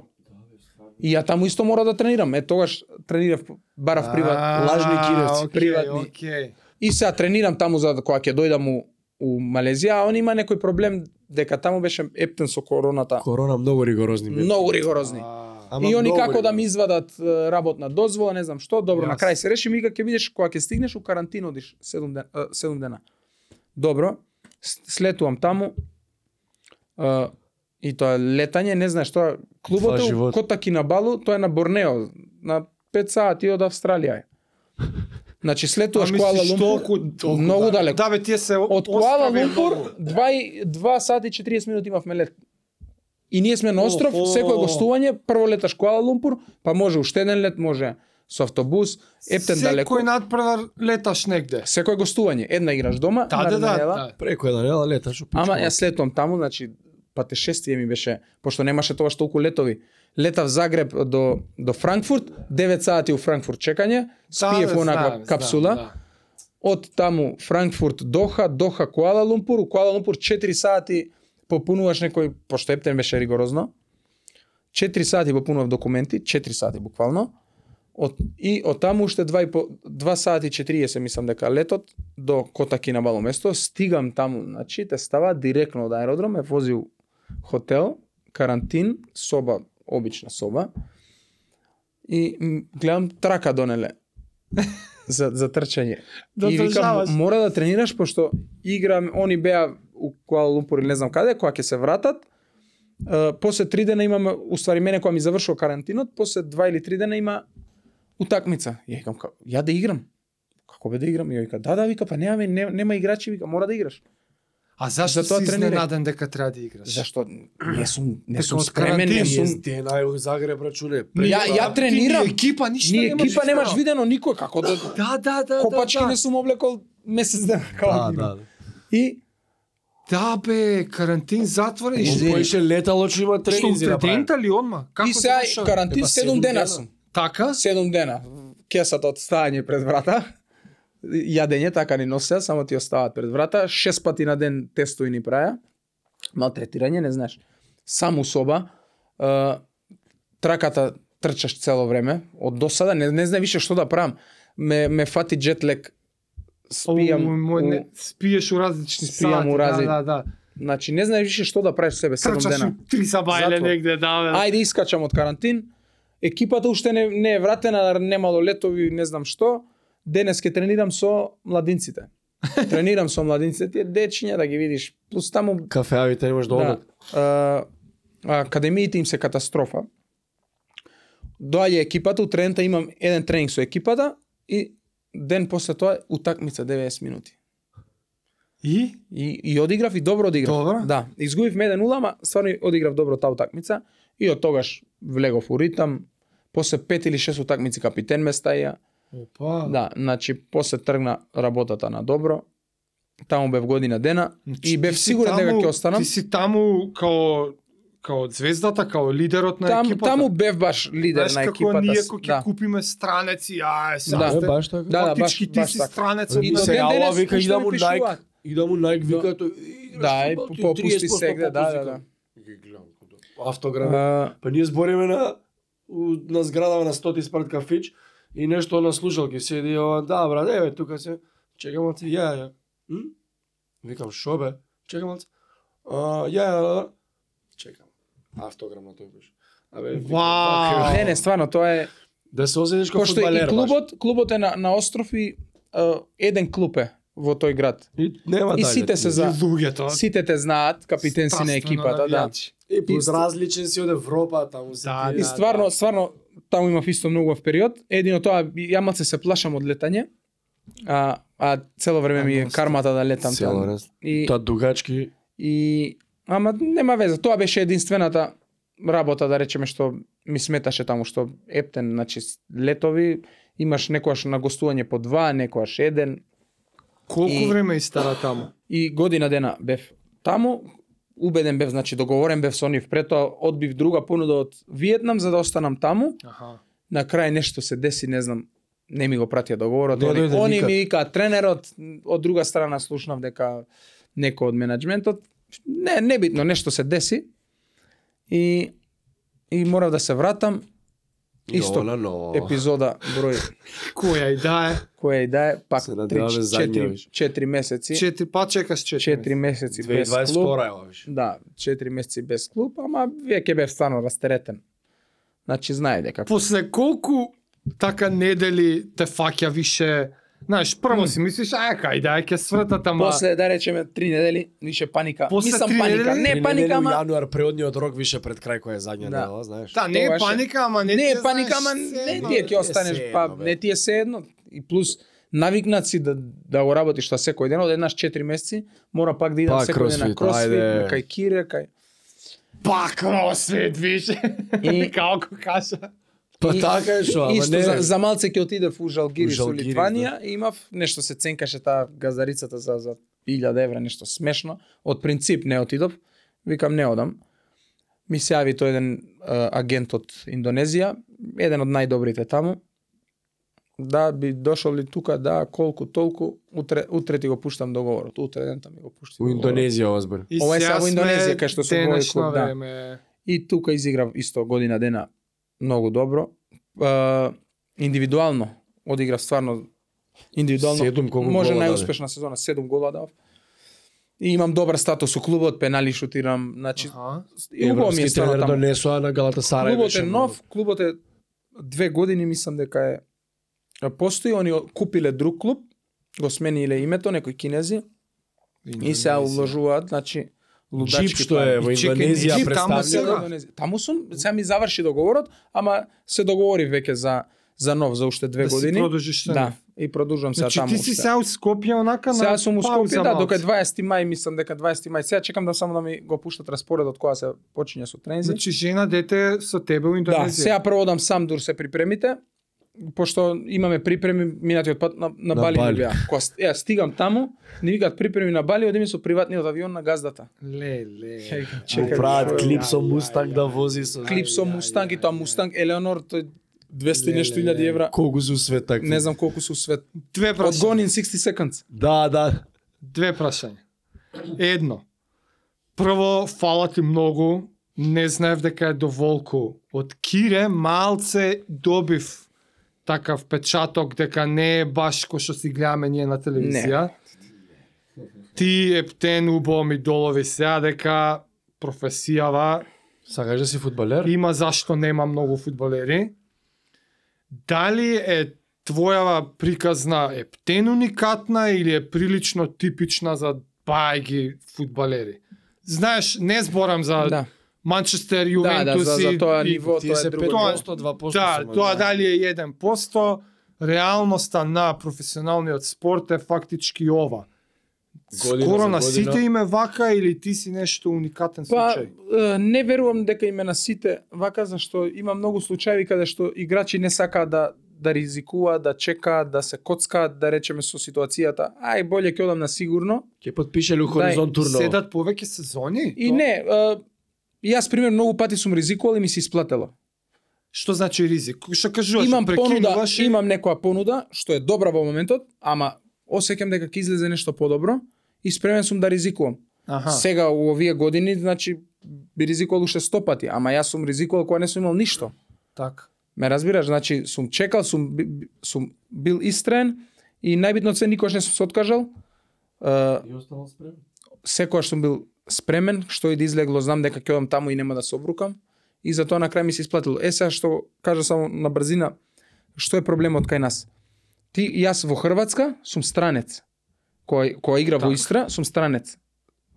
S3: И ја таму исто мора да тренирам. Е тогаш тренирав барав
S1: А,
S3: приват лажни киревци,
S1: океј,
S3: приватни.
S1: океј.
S3: И сега тренирам таму за кога ќе дојдам у, у Малезија, а он има некој проблем дека таму беше ептен со короната.
S4: Корона многу ригорозни мерки.
S3: Многу ригорозни.
S1: А,
S4: Ама
S3: И они
S4: многу
S3: како да
S4: ригорозни.
S3: ми извадат е, работна дозвола, не знам што, добро, на
S1: Јасно.
S3: крај се реши, ми ќе видиш кога ќе стигнеш у карантин одиш 7 дена, 7 дена. Добро. с- Слетувам таму. е, И тоа летање, не знаеш тоа, клубот
S4: Два
S3: е у
S4: живота.
S3: Кота Кинабалу, тоа е на Борнео, на 5 сати од Австралија. е. Значи след тоа
S1: А мислиш
S3: школа
S1: толку-
S3: Лумпур,
S1: толку
S3: многу
S1: далеко.
S3: далеко.
S1: Да, бе, тие се
S3: Од Куала Лумпур 2, 2 сати и 40 минути имавме лет. И ние сме на остров,
S1: Охо.
S3: секој гостување, прво леташ Куала Лумпур, па може уште еден лет, може со автобус, ептен далеко.
S1: Секој надпревар леташ негде.
S3: Секој гостување, една играш дома,
S1: Да, да,
S3: наредна
S1: да,
S3: недела.
S1: да.
S4: Преко една нела леташ у пичку.
S3: Ама јас летувам таму, значи патешествие ми беше, пошто немаше тоа што толку летови. Летав Загреб до до Франкфурт, 9 сати у Франкфурт чекање, спиев
S1: бе,
S3: онаква
S1: Да, знам,
S3: капсула.
S1: знам, да.
S3: Од таму Франкфурт, Доха, Доха, Куала Лумпур, у Куала Лумпур 4 сати попунуваш некој, пошто ептен беше ригорозно. 4 сати попунував документи, 4 сати буквално. Од, и од таму уште 2, и по, 2 сати и 40 мислам дека летот до Котаки на мало место, стигам таму, значи те става директно од аеродром, е вози у хотел, карантин, соба, обична соба. И м, гледам трака донеле за, за трчање.
S1: Да
S3: и викам,
S1: државаш.
S3: мора да тренираш, пошто играм, они беа у Куала Лумпур или не знам каде, која ќе се вратат, Е, после три дена имаме, уствари мене која ми завршува карантинот, после два или три дена има утакмица. Ја викам, ка- ја да играм. Како бе да играм? Ја вика, да, да, вика, па немаме, нем- нема играчи, вика, мора да играш.
S1: А зашто
S3: За тоа
S1: си
S3: тренирај.
S1: изненаден дека треба да играш?
S3: Зашто не сум, не
S1: Дека
S3: сум
S1: од
S3: спремен, не
S1: карантин
S3: сум...
S4: Ти е нај Загреб рачуне.
S3: Ја, ја тренирам,
S1: Ти ни екипа ништо
S3: ни
S1: немаш
S3: екипа немаш
S1: видено.
S3: видено никој, како да...
S1: Да, да, да,
S3: Копачки
S1: да, да.
S3: не сум облекол месец дена,
S4: Да,
S3: како да,
S4: да.
S3: И
S1: Да, бе, карантин затворен.
S4: Он
S1: Што
S4: кој ше летало што има тренинзи
S1: уште
S4: да прави.
S1: дента ли одма? Како
S3: и сега
S1: се
S3: карантин
S4: Епа,
S3: 7
S4: седум
S3: дена
S4: дена.
S3: сум.
S1: Така?
S3: Седум дена. Кесата од стајање пред врата. Јадење така ни носеа, само ти оставаат пред врата. Шест пати на ден тестови ни праја. Малтретирање, не знаеш. Само у соба. Е, траката трчаш цело време. Од досада не, не знам више што да правам. Ме, ме фати джетлек. Спијам.
S1: Оу, мој,
S3: у-
S1: не, спиеш у различни
S3: Спијам
S1: сати.
S3: у разли-
S1: Да, да, да.
S3: Значи, не знаеш више што да правиш со себе седум
S1: Трчаш
S3: дена.
S1: у три сабајле
S3: Затвор.
S1: негде, да, бе.
S3: Ајде искачам од карантин. Екипата уште не, не е вратена, немало летови, не знам што. Денес ќе тренирам со младинците. Тренирам со младинците, тие дечиња да ги видиш. Плюс таму
S4: Кафеавите не можеш да
S3: да,
S4: одат.
S3: а, академиите им се катастрофа. Доаѓа екипата, у трента имам еден тренинг со екипата и ден после тоа утакмица 90 минути.
S1: И?
S3: И, и одиграв и добро одиграв.
S1: Добро.
S3: Да, изгубивме 1-0, ама стварно одиграв добро таа утакмица и од тогаш влегов у ритам. После пет или шест утакмици капитен ме стаја.
S1: Опа.
S3: Да, значи после тргна работата на добро. Таму бев година дена
S1: Значи,
S3: и
S1: ти
S3: бев
S1: си
S3: сигурен дека
S1: таму-
S3: ќе останам.
S1: Ти си таму као као звездата, као лидерот на
S3: Таму,
S1: екипата.
S3: таму бев баш лидер
S1: Знаеш
S3: на
S1: како
S3: екипата.
S1: ние
S3: с-
S1: кога ќе
S3: да.
S1: купиме странеци, ај, сега
S3: Да.
S4: Да,
S1: сте-
S4: е, баш така.
S3: Да, да, баш,
S1: фактички ти
S3: баш
S1: си
S3: така.
S1: странец
S3: И
S1: од
S4: И
S3: до
S1: нас.
S3: се- ден
S4: сега ова
S3: денес
S4: вика
S3: уште
S4: и да
S3: ми
S4: му Nike,
S3: пишуваат.
S4: и да му Nike вика тој
S3: Да, и попусти сегде, да, да, да.
S4: Автограм.
S3: А,
S4: Па ние збориме на у, на зградава на 100 спрт кафич и нешто на слушалки седи ова, да брат, еве тука се. Чекам малце, ја ја. М? Викам шо бе? Чекам малце. А, ја ја. ја. Чекам. Автограм на тој беше. Абе, викам,
S1: Вау.
S4: вака,
S3: Не, не, стварно тоа е
S4: Да се озедеш како
S3: пошто и
S4: фудбалер. баш.
S3: клубот, клубот е на на остров и а, еден клуб е во тој град.
S4: И нема
S3: И
S4: дале.
S3: сите се за
S1: И луѓето.
S3: Сите те знаат, капитен си на екипата, да.
S1: Страствено
S4: И плюс различен си од Европа таму се.
S1: Да,
S4: тие-
S3: И стварно, стварно таму имав исто многу в период. Едино тоа ја малце се плашам од летање. А а цело време ми е кармата да летам
S4: Цело
S3: таму.
S4: раз.
S3: И
S4: Та дугачки
S3: и ама нема веза, тоа беше единствената работа да речеме што ми сметаше таму што ептен, значи с- летови имаш некојаш на гостување по два, некојаш еден
S1: Колку
S3: И-
S1: време истара таму?
S3: и година дена бев таму, убеден бев, значи договорен бев со нив, претоа одбив друга понуда од Виетнам за да останам таму.
S1: Аха.
S3: на крај нешто се деси, не знам, не ми го пратија договорот.
S4: Не
S3: Они,
S4: дојде
S3: они
S4: никак.
S3: ми викаат тренерот, од друга страна слушнав дека некој од менеджментот, не, небитно, нешто се деси. И и морав да се вратам. Исто
S4: Јола, но.
S3: епизода број
S1: Која и да е?
S3: која и да е пак
S4: Се надеваме задња
S3: 3
S4: више.
S3: 4 месеци,
S1: Четири, па чекаш четири.
S3: 4 месеци без клуб.
S4: 2022 е ова више.
S3: Да, 4 месеци без клуб, ама веќе бев стварно растеретен. Значи знае дека
S1: После колку така недели те фаќа више Знаеш, прво си мислиш, ај, кај да, ќе свртат, ама...
S3: После да речеме три недели, више паника.
S1: После
S3: Мислам
S1: три
S3: паника,
S1: недели?
S3: не
S4: Три
S3: паника,
S4: недели у
S3: ама
S4: јануар преодниот рок више пред крај кој е задња
S3: Да.
S4: недела, знаеш.
S1: Да, не е
S3: Тоа беше-
S1: паника, ама не
S3: не
S1: ти
S3: е паника,
S1: знаеш,
S3: ама
S1: се
S3: не
S1: едно.
S3: ти е
S4: ти
S3: ќе
S4: е
S3: останеш
S4: се
S3: па
S4: едно, бе.
S3: не ти е се едно и плюс навикнат си да, да го работиш тоа секој ден, од еднаш 4 месеци, мора пак да идам
S4: Пак
S3: секој ден
S4: Па,
S3: на
S4: кросфит,
S3: кросфит,
S4: ајде.
S3: на кај кире, кај...
S1: Пак, о, свет више.
S3: И-
S1: Како кажа.
S4: Па
S3: И-
S4: така е шо, ама
S3: Исто,
S4: не. да.
S3: за, за малце ќе отидев у Жалгирис,
S4: У
S3: у
S4: Жалгирис,
S3: Литванија, и имав нешто се ценкаше таа газарицата за за 1000 евра, нешто смешно. Од принцип не отидов. Викам не одам. Ми се јави тој еден а, агент од Индонезија, еден од најдобрите таму. Да би дошол ли тука, да, колку толку, утре утре ти го пуштам договорот. Утре дента ми го пушти.
S4: У
S3: договорот.
S4: Индонезија ова збор.
S1: И
S3: Ова е
S1: сега
S3: само
S1: сме
S3: Индонезија, кај што се бои
S1: денешно
S3: клуб, да.
S1: време.
S3: И тука изиграв исто година дена многу добро. А, индивидуално одиграв стварно индивидуално.
S4: Седум колку
S3: може
S4: гола даде.
S3: најуспешна сезона, 7 гола дав. И имам добар статус у клубот, пенали шутирам, значи
S1: Аха.
S3: и убаво ми е
S4: Европски
S3: стано
S4: тренер
S3: таму.
S4: донесоа на Галата Сарај.
S3: Клубот е нов, клубот е две години мислам дека е постои, они купиле друг клуб, го смениле името, некои кинези, и сега уложуваат, значи, лудачки
S4: Джип што
S3: пари.
S4: е во
S1: И чекај,
S4: Индонезија
S1: Джип таму се
S4: представлено.
S1: да.
S3: Индонезија. Таму сум, сега ми заврши договорот, ама се договори веќе за за нов за уште две
S1: Да си
S3: години.
S1: продолжиш се.
S3: да, и продолжувам се
S1: Значи
S3: таму.
S1: ти си
S3: уште.
S1: сега у Скопје онака на
S3: Сега сум у
S1: пауза
S3: Скопје, да,
S1: малце.
S3: дока 20 мај, мислам дека 20 мај. Сега чекам да само да ми го пуштат распоредот кога се почиња со трензи.
S1: Значи жена дете со тебе у
S3: Да,
S1: Индонезија.
S3: сега прво одам сам дур се припремите, пошто имаме припреми минатиот пат на,
S4: На
S3: на,
S4: Бали.
S3: Бали, Бали. беа. Кога ст- ја стигам таму, ни викаат припреми на Бали, одиме со приватниот авион на газдата.
S1: Ле, ле.
S3: Чекам,
S4: Му прават клип со Мустанг да вози со...
S3: клип со Мустанг и тоа Мустанг Елеонор тој 200 и нешто илјади евра.
S4: Колку се усветак.
S3: Не знам колку се свет.
S1: Две
S3: Од
S1: прашања.
S3: Gone in 60 seconds.
S4: Да, да.
S1: Две прашања. Едно. Прво, фала ти многу. Не знаев дека е доволку. Од Кире малце добив такав печаток дека не е баш кој што си гледаме ние на телевизија. Ти ептен убо ми долови сега дека професијава
S4: Сакаш да си фудбалер?
S1: има зашто нема многу фудбалери. Дали е твојава приказна ептен уникатна или е прилично типична за бајги фудбалери? Знаеш, не зборам за да.
S3: Да.
S1: Манчестер,
S3: Да,
S1: Јувентус
S3: да, за, за
S1: и-
S3: тоа
S1: и-
S3: ниво,
S4: Тие
S3: тоа
S4: се
S3: е друго.
S4: 5%, 2%
S1: Да,
S4: само,
S1: тоа дали е 1%, реалноста на професионалниот спорт е фактички ова.
S4: Година
S1: Скоро
S4: за
S1: на
S4: година.
S1: сите им е вака или ти си нешто уникатен
S3: Па
S1: случај?
S3: е, не верувам дека име на сите вака зашто има многу случаи каде што играчи не сакаат да да ризикуваат, да чекаат, да се коцкаат, да речеме со ситуацијата. Ај, боле ќе одам на сигурно.
S4: Ќе подпишеле у Хоризонт турно.
S1: Седат повеќе сезони?
S3: И не, е, јас пример многу пати сум ризикувал и ми се исплатело.
S1: Што значи ризик? Што кажуваш?
S3: имам понуда,
S1: прекинуваш и-
S3: имам некоја понуда што е добра во моментот, ама осеќам дека ќе излезе нешто подобро и спремен сум да ризикувам.
S1: Аха.
S3: Ага. Сега у овие години, значи би ризикувал уште 100 пати, ама јас сум ризикувал кога не сум имал ништо.
S1: Так.
S3: Ме разбираш, значи сум чекал, сум би- би- сум бил истрен и најбитно се никош не сум се откажал. Е,
S4: И останал спремен.
S3: секогаш сум бил спремен, што и да излегло, знам дека ќе одам таму и нема да се обрукам. И затоа на крај ми се исплатило. Е сега што кажа само на брзина, што е проблемот кај нас? Ти јас во Хрватска сум странец. Кој кој игра во
S1: Так.
S3: Истра, сум странец.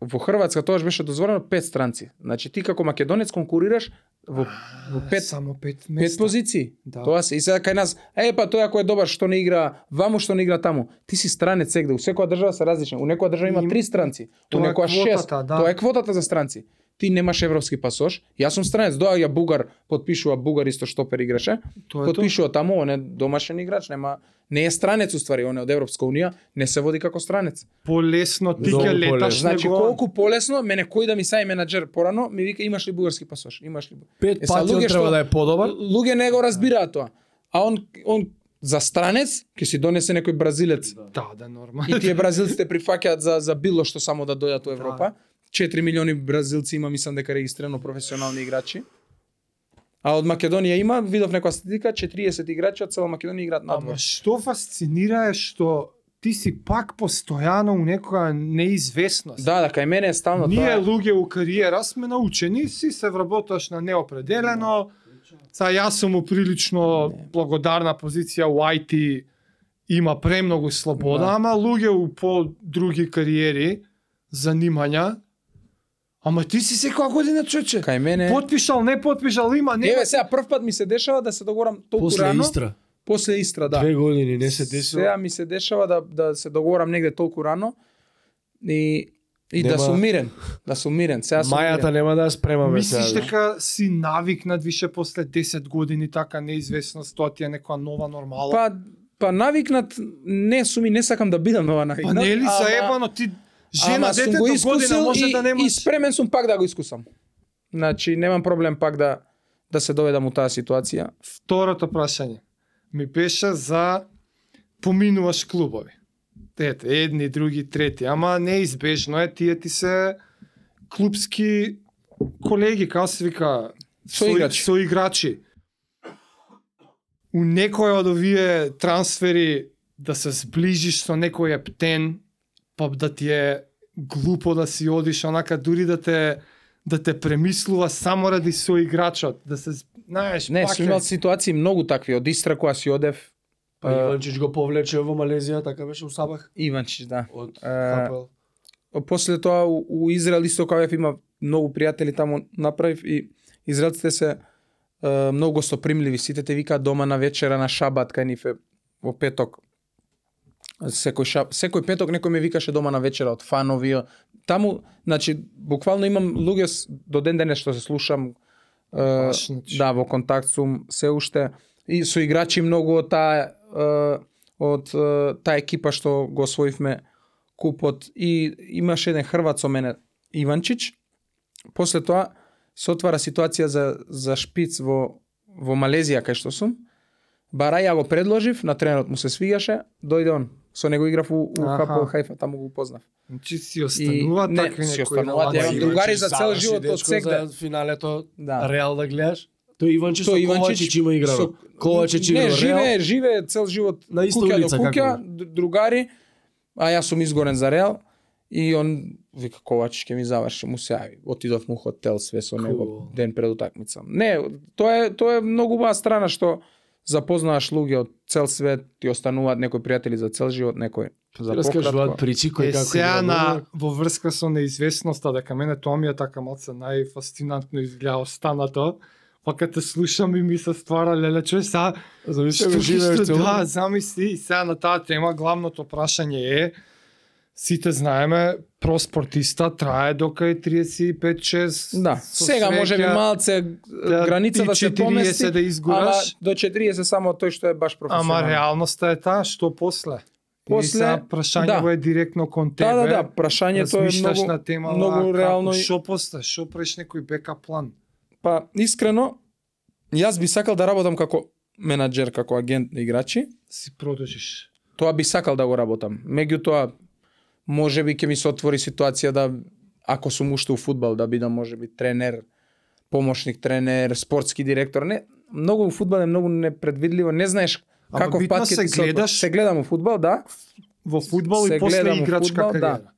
S3: Во Хрватска тогаш беше дозволено пет странци. Значи ти како македонец конкурираш во во пет
S1: само пет
S3: пет
S1: места.
S3: позиции.
S1: Да.
S3: Тоа се и сега кај нас, е па тој ако е добар што не игра ваму, што не игра таму. Ти си странец сегде, у секоја држава се различен. У некоја држава има
S1: Им-
S3: три странци, у
S1: тоа е
S3: некоја шест.
S1: квотата, да.
S3: Тоа е квотата за странци. Ти немаш европски пасош. Јас сум странец, доаѓа бугар, подпишува бугар исто штопер играше.
S1: Тоа е тоа.
S3: подпишува таму, он е домашен играч, нема не е странец уствари, он е од Европска унија, не се води како странец.
S1: Полесно ти
S4: Многу
S1: ќе леташ
S4: полесно.
S3: Значи
S1: него.
S3: колку полесно, мене кој да ми сај менаџер порано, ми вика имаш ли бугарски пасош? Имаш ли? бу-?»
S4: Пет
S3: Е, са
S4: пати он
S3: луѓе што-
S4: треба да е подобар.
S3: луѓе не го разбираат тоа. А он он за странец ќе си донесе некој бразилец.
S1: Да, да, нормално.
S3: И тие бразилците прифаќаат за за било што само да дојдат во Европа. 4 милиони бразилци има мислам дека регистрирано професионални играчи. А од Македонија има, видов некоја статистика, 40 играчи од цела Македонија играат
S1: Ама
S3: надвор.
S1: што фасцинира е што ти си пак постојано у некоја неизвестност.
S3: Да, да, кај мене е стално
S1: Ние
S3: тоа.
S1: луѓе у кариера сме научени, си се вработуваш на неопределено. Са јас сум у прилично благодарна позиција у IT има премногу слобода,
S3: Да.
S1: ама луѓе у по други кариери, занимања, ама ти си секоја година чече.
S3: Кај мене
S1: Потпишал, не потпишал, има, нема.
S3: Еве сега прв пат ми се дешава да се договорам толку
S4: После
S3: рано.
S4: Истра.
S3: после Истра, да.
S4: Две години не се десило.
S3: Сега ми се дешава да, да се договорам негде толку рано и, и да
S4: Нема-
S3: сум мирен. Да сум мирен. Сега сум мирен.
S4: Мајата нема да ја спремаме
S1: Мислиш
S4: сега.
S1: дека си навикнат више после 10 години така неизвестност, тоа ти е некоја нова нормала?
S3: Па, па навикнат, не сум и не сакам да бидам нова
S1: Па
S3: навикнат.
S1: не е ли
S3: ама-
S1: заебано ти жена
S3: ама сум
S1: дете
S3: го
S1: до година
S3: искусил
S1: може
S3: и,
S1: да
S3: и
S1: немаш
S3: спремен сум пак да го искусам. Значи, немам проблем пак да да се доведам у таа ситуација.
S1: Второто прашање ми беше за поминуваш клубови. Ете, едни, други, трети, ама неизбежно е тие ти се клубски колеги, како се вика,
S3: Соиграчи.
S1: со играчи. У некој од овие трансфери да се сближиш со некој ептен, па да ти е глупо да си одиш, онака дури да те да те премислува само ради со играчот, да се з- знаеш,
S3: Не,
S1: пак
S3: сум
S1: е-
S3: имал ситуации многу такви од Истра која си одев.
S4: Па Иванчич го повлече во Малезија, така беше у Сабах
S3: Иванчич, да.
S4: од
S3: Е,
S4: ХПЛ.
S3: после тоа у, у Израел исто кај бев, има многу пријатели таму направив и израелците се е, многу гостопримливи, сите те викаат дома на вечера на шабат кај ниф е во петок. Секој шаб, секој петок некој ме викаше дома на вечера од фанови. о- Таму, значи, буквално имам луѓе с- до ден денес што се слушам е,
S1: Баш, значи.
S3: да, во контакт сум се уште и со играчи многу од таа е, од е, таа екипа што го освоивме купот и имаше еден хрват со мене Иванчич. После тоа се отвара ситуација за за шпиц во во Малезија кај што сум. Бараја го предложив, на тренерот му се свигаше, дојде он. Со него играв у, у
S1: Аха.
S3: ХПЛ Хајфа, таму го познав.
S1: Значи си останува
S3: И- не,
S1: такви
S3: си
S1: некои
S3: остануваат,
S1: налаги.
S3: ја имам другари за цел
S4: Заврши,
S3: живот од
S4: Па, дечко,
S3: сегде.
S4: За финалето,
S3: Да.
S4: Реал да гледаш. Тој Иванчич со
S3: Тој Иванчич
S4: Ковачич има играно.
S3: со-
S4: Ковачич има
S3: не,
S4: играно. Реал.
S3: живее, живее цел живот
S4: На иста
S3: куќа
S4: улица,
S3: до куќа,
S4: како?
S3: д- другари, а јас сум изгорен за Реал и он вика Ковачич ќе ми заврши, му се јави. Отидов му хотел све со него
S4: Cool.
S3: ден пред утакмица. Не, тоа е тоа е многу баа страна што запознаваш луѓе од цел свет, ти остануваат некои пријатели за цел живот, некои за
S4: Ти Раскажуваат
S3: пократко.
S4: причи кои
S1: Е,
S4: како
S1: сега
S3: да
S4: играл
S1: на,
S4: добро.
S1: во врска со неизвестноста, дека мене тоа ми е така малце најфасцинантно изгледа останато, па кога те слушам и ми се ствара леле човек, сега
S4: Замисли
S1: Што
S4: го живееш
S1: што-
S4: цело.
S1: Да, замисли, и сега на таа тема главното прашање е сите знаеме, про спортиста трае дока е 35-6.
S3: Да,
S1: со
S3: сега може би
S1: среќа,
S3: малце
S1: да,
S3: граница
S1: ти
S3: да се
S1: 40
S3: помести,
S1: да
S3: ама
S1: изгораш.
S3: до 40 само тој што е баш професионален.
S1: Ама реалноста е таа, што после?
S3: После-
S1: После, сега, прашањето
S3: да.
S1: да. е директно кон тебе.
S3: Да, да, да, прашањето е
S1: размишлаш
S3: многу,
S1: на тема
S3: многу
S1: како,
S3: реално. и-
S1: Што после? Што преш некој бека план?
S3: Па, искрено, јас би сакал да работам како менаџер, како агент на играчи.
S1: Си продолжиш.
S3: Тоа би сакал да го работам. Меѓутоа, може би ќе ми се отвори ситуација да, ако сум уште у фудбал, да бидам може би тренер, помошник тренер, спортски директор. Не, многу у фудбал е многу непредвидливо. Не знаеш
S1: Ама
S3: каков
S1: битно
S3: пат ќе
S1: се
S3: ти се отвори.
S1: гледаш-
S3: Се гледам у фудбал, да.
S1: Во фудбал
S3: Се
S1: и после
S3: гледам во
S1: играчка
S3: фудбал, да.
S1: кариера.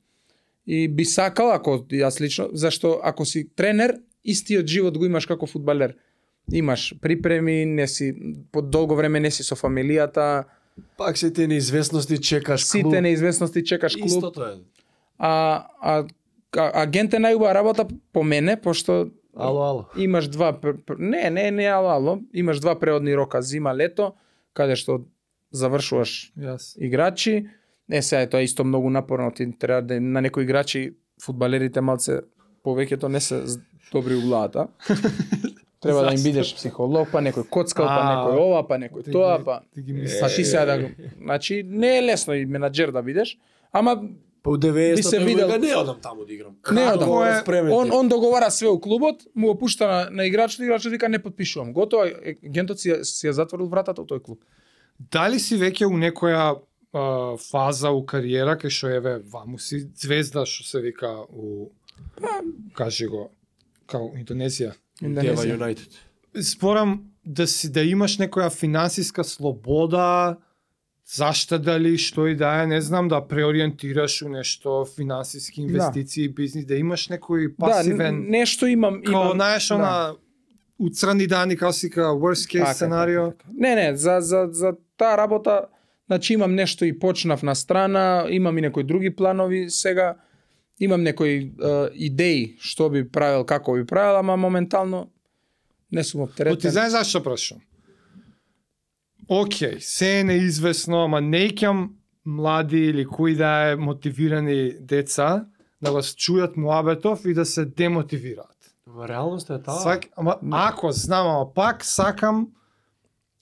S3: И би сакал, ако јас лично, зашто ако си тренер, истиот живот го имаш како фудбалер. Имаш припреми, не си, по долго време не си со фамилијата,
S4: Пак се те неизвестности чекаш клуб.
S3: сите неизвестности, чекаш клуб.
S4: Истото е.
S3: А, а, а агент е најубава работа по мене, пошто
S4: Ало, ало.
S3: имаш два, пр- пр- не, не, не, ало, ало, имаш два преодни рока, зима, лето, каде што завршуваш
S1: Јас.
S3: играчи. Е, сега е тоа е исто многу напорно, ти треба да на некои играчи, фудбалерите малце повеќето не се з- добри у главата. треба да им бидеш психолог, па некој коцкал, па
S1: А,
S3: некој ова, па некој
S1: ти
S3: тоа,
S1: ги-
S3: па...
S1: Ти ги
S3: Па
S1: мислиш.
S3: ти сега да... Значи, не е лесно и менаџер да бидеш, ама
S4: Па у 90
S3: се видел-
S4: не одам таму да играм.
S3: не
S4: Како
S3: одам.
S4: го спремен ти?
S3: Он, он договара све у клубот, му го пушта на, на играчот, играчот вика не подпишувам. Готово, е, агентот си, ја- си ја затворил вратата у тој клуб.
S1: Дали си веќе у некоја а, фаза у кариера кај што еве ваму си звезда што се вика у
S3: Па,
S1: кажи го као Индонезија.
S4: Дева Юнайтед.
S1: спорам да си да имаш некоја финансиска слобода, зашта дали што и да е, не знам, да преориентираш у нешто финансиски инвестиции, да. бизнис, да имаш некој
S3: да,
S1: пасивен,
S3: н- нешто имам.
S1: као,
S3: имам
S1: знаеш,
S3: да.
S1: она, у црни дани, као си ка, worst case
S3: Така,
S1: така, сценарио.
S3: така, така. Не, не, за, за, за таа работа, значи имам нешто и почнав на страна, имам и некои други планови сега, имам некои е, идеи што би правил, како би правил, ама моментално не сум
S1: Но ти
S3: оптеретен.
S1: знаеш зашто прашам? ok, се е неизвестно, ама не икам млади или кои да е мотивирани деца да го чујат муабетов и да се демотивираат.
S4: Ма реалноста е
S3: Да.
S4: таа.
S1: Свак, ама, ако знам, ама пак сакам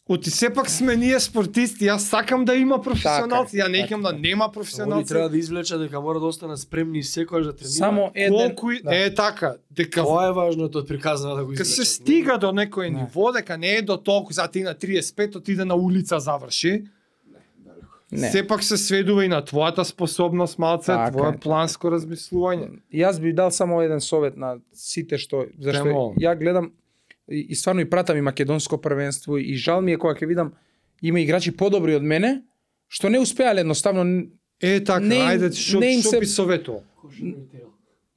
S1: Оти сепак сме ние спортисти, јас сакам да има професионалци, ја не
S3: така
S1: икам
S3: е.
S1: да нема
S4: Они
S1: професионалци.
S4: треба да извлечат дека мора да останат спремни и секојаш да тренираат.
S3: Само еден...
S1: Колку и-
S3: да.
S1: е така, дека
S4: Тоа е важното од приказна да го
S1: Кога
S4: извлечат.
S1: се стига до некој
S3: Не.
S1: ниво, дека не е до толку, за ти на 35, ти да на улица заврши,
S3: Не.
S1: сепак се сведува и на твојата способност малце,
S3: Така е,
S1: твое
S3: така
S1: планско размислување.
S3: Јас би дал само еден совет на сите што зашто
S1: Премо.
S3: ја гледам и, и стварно и пратам и македонско првенство и жал ми е кога ќе видам има играчи подобри од мене што не успеале едноставно н-
S1: Е така,
S3: Не им-
S1: ајде, што
S3: не им
S1: што
S3: се-
S1: би советувал?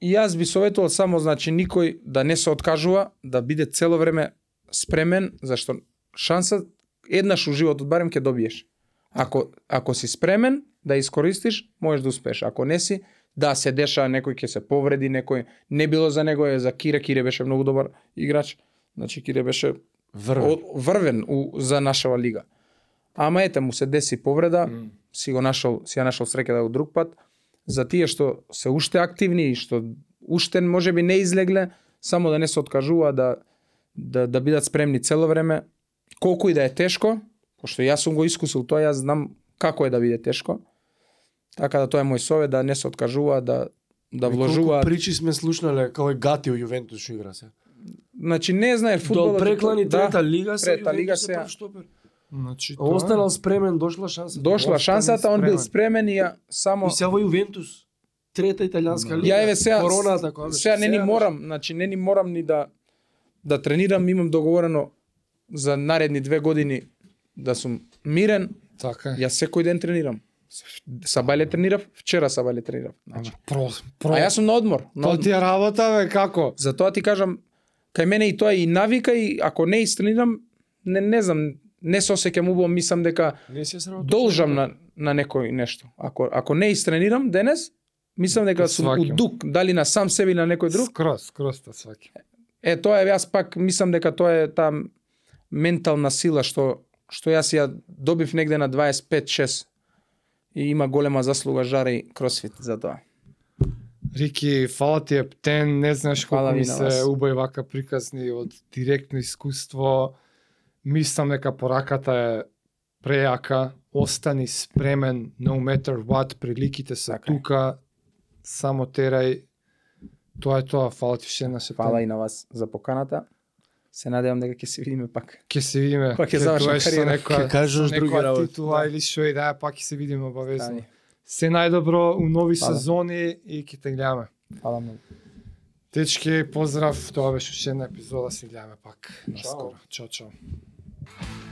S3: И јас би советувал само значи никој да не се откажува, да биде цело време спремен, зашто шанса еднаш у животот барем ќе добиеш. Ако ако си спремен да искористиш, можеш да успееш. Ако не си, да се деша некој ќе се повреди, некој не било за него е за Кире, Кире беше многу добар играч. Значи Кире беше
S4: Врв.
S3: о- врвен у, за нашава лига. Ама ете му се деси повреда, си го нашол, си ја нашол среќа да го друг пат. За тие што се уште активни и што уште може би не излегле, само да не се откажува да, да, да бидат спремни цело време. Колку и да е тешко, пошто јас сум го искусил тоа, јас знам како е да биде тешко. Така да тоа е мој совет, да не се откажува, да, да вложува.
S4: Колку причи сме слушнале кој гати у Јувентус што игра се.
S3: Значи не знаеш
S4: До
S3: фудбалот.
S4: преклани
S3: да,
S4: трета лига се.
S3: трета лига се,
S4: прв штопер.
S1: Значи, тоа е.
S4: Останал спремен, дошла шанса.
S3: дошла шансата, он бил
S1: спремен.
S3: спремен и ја само
S4: И сега во Јувентус. Трета италијанска лига.
S3: Ја еве сега
S4: короната која беше.
S3: сега не ни
S4: Сега
S3: морам, значи не ни морам ни да да тренирам, имам договорено за наредни две години да сум мирен.
S1: Така е.
S3: Јас секој ден тренирам. Сабајле тренирав, вчера сабајле тренирав. Значи,
S1: Про, про.
S3: а јас сум на одмор. На
S1: Тоа
S3: одмор.
S1: ти е работа, бе, како?
S3: Затоа ти кажам, кај мене и тоа е и навика и ако не истренирам, не, не знам, не се осеќам убаво, мислам дека
S4: Не се сработи.
S3: должам на, на некој нешто. Ако, ако не истренирам денес, мислам дека сум у
S1: Сваќам.
S3: дук, дали на сам себе или на некој друг,
S1: Скрос, скрос та сваки.
S3: Е, тоа е, јас пак мислам дека тоа е таа ментална сила што што јас ја добив негде на 25-6 и има голема заслуга Жаре и кросфит за тоа.
S1: Рики, фала ти е птен, не знаеш
S3: Фала
S1: колку
S3: ви
S1: ми
S3: на
S1: се
S3: вас.
S1: убај вака приказни од директно искуство. Мислам дека пораката е прејака, остани спремен no matter what, приликите се
S3: Така е.
S1: тука, само терај. Тоа е тоа, фала ти ше на се.
S3: Фала и на вас за поканата. Се надевам дека ќе се видиме пак.
S1: Ке се видиме.
S3: Па ќе
S1: Ке
S3: завршам
S1: доеш со
S3: кариера.
S1: некоја-
S4: кажеш
S1: со некоја титула или шо и да е, пак ќе се видиме
S3: Фала,
S1: обавезно. Се најдобро у нови
S3: Фала.
S1: сезони и ќе те гледаме.
S3: фала многу.
S1: Дечки, поздрав, тоа беше уште една епизода, се гледаме пак. Наскоро. Чао, чао.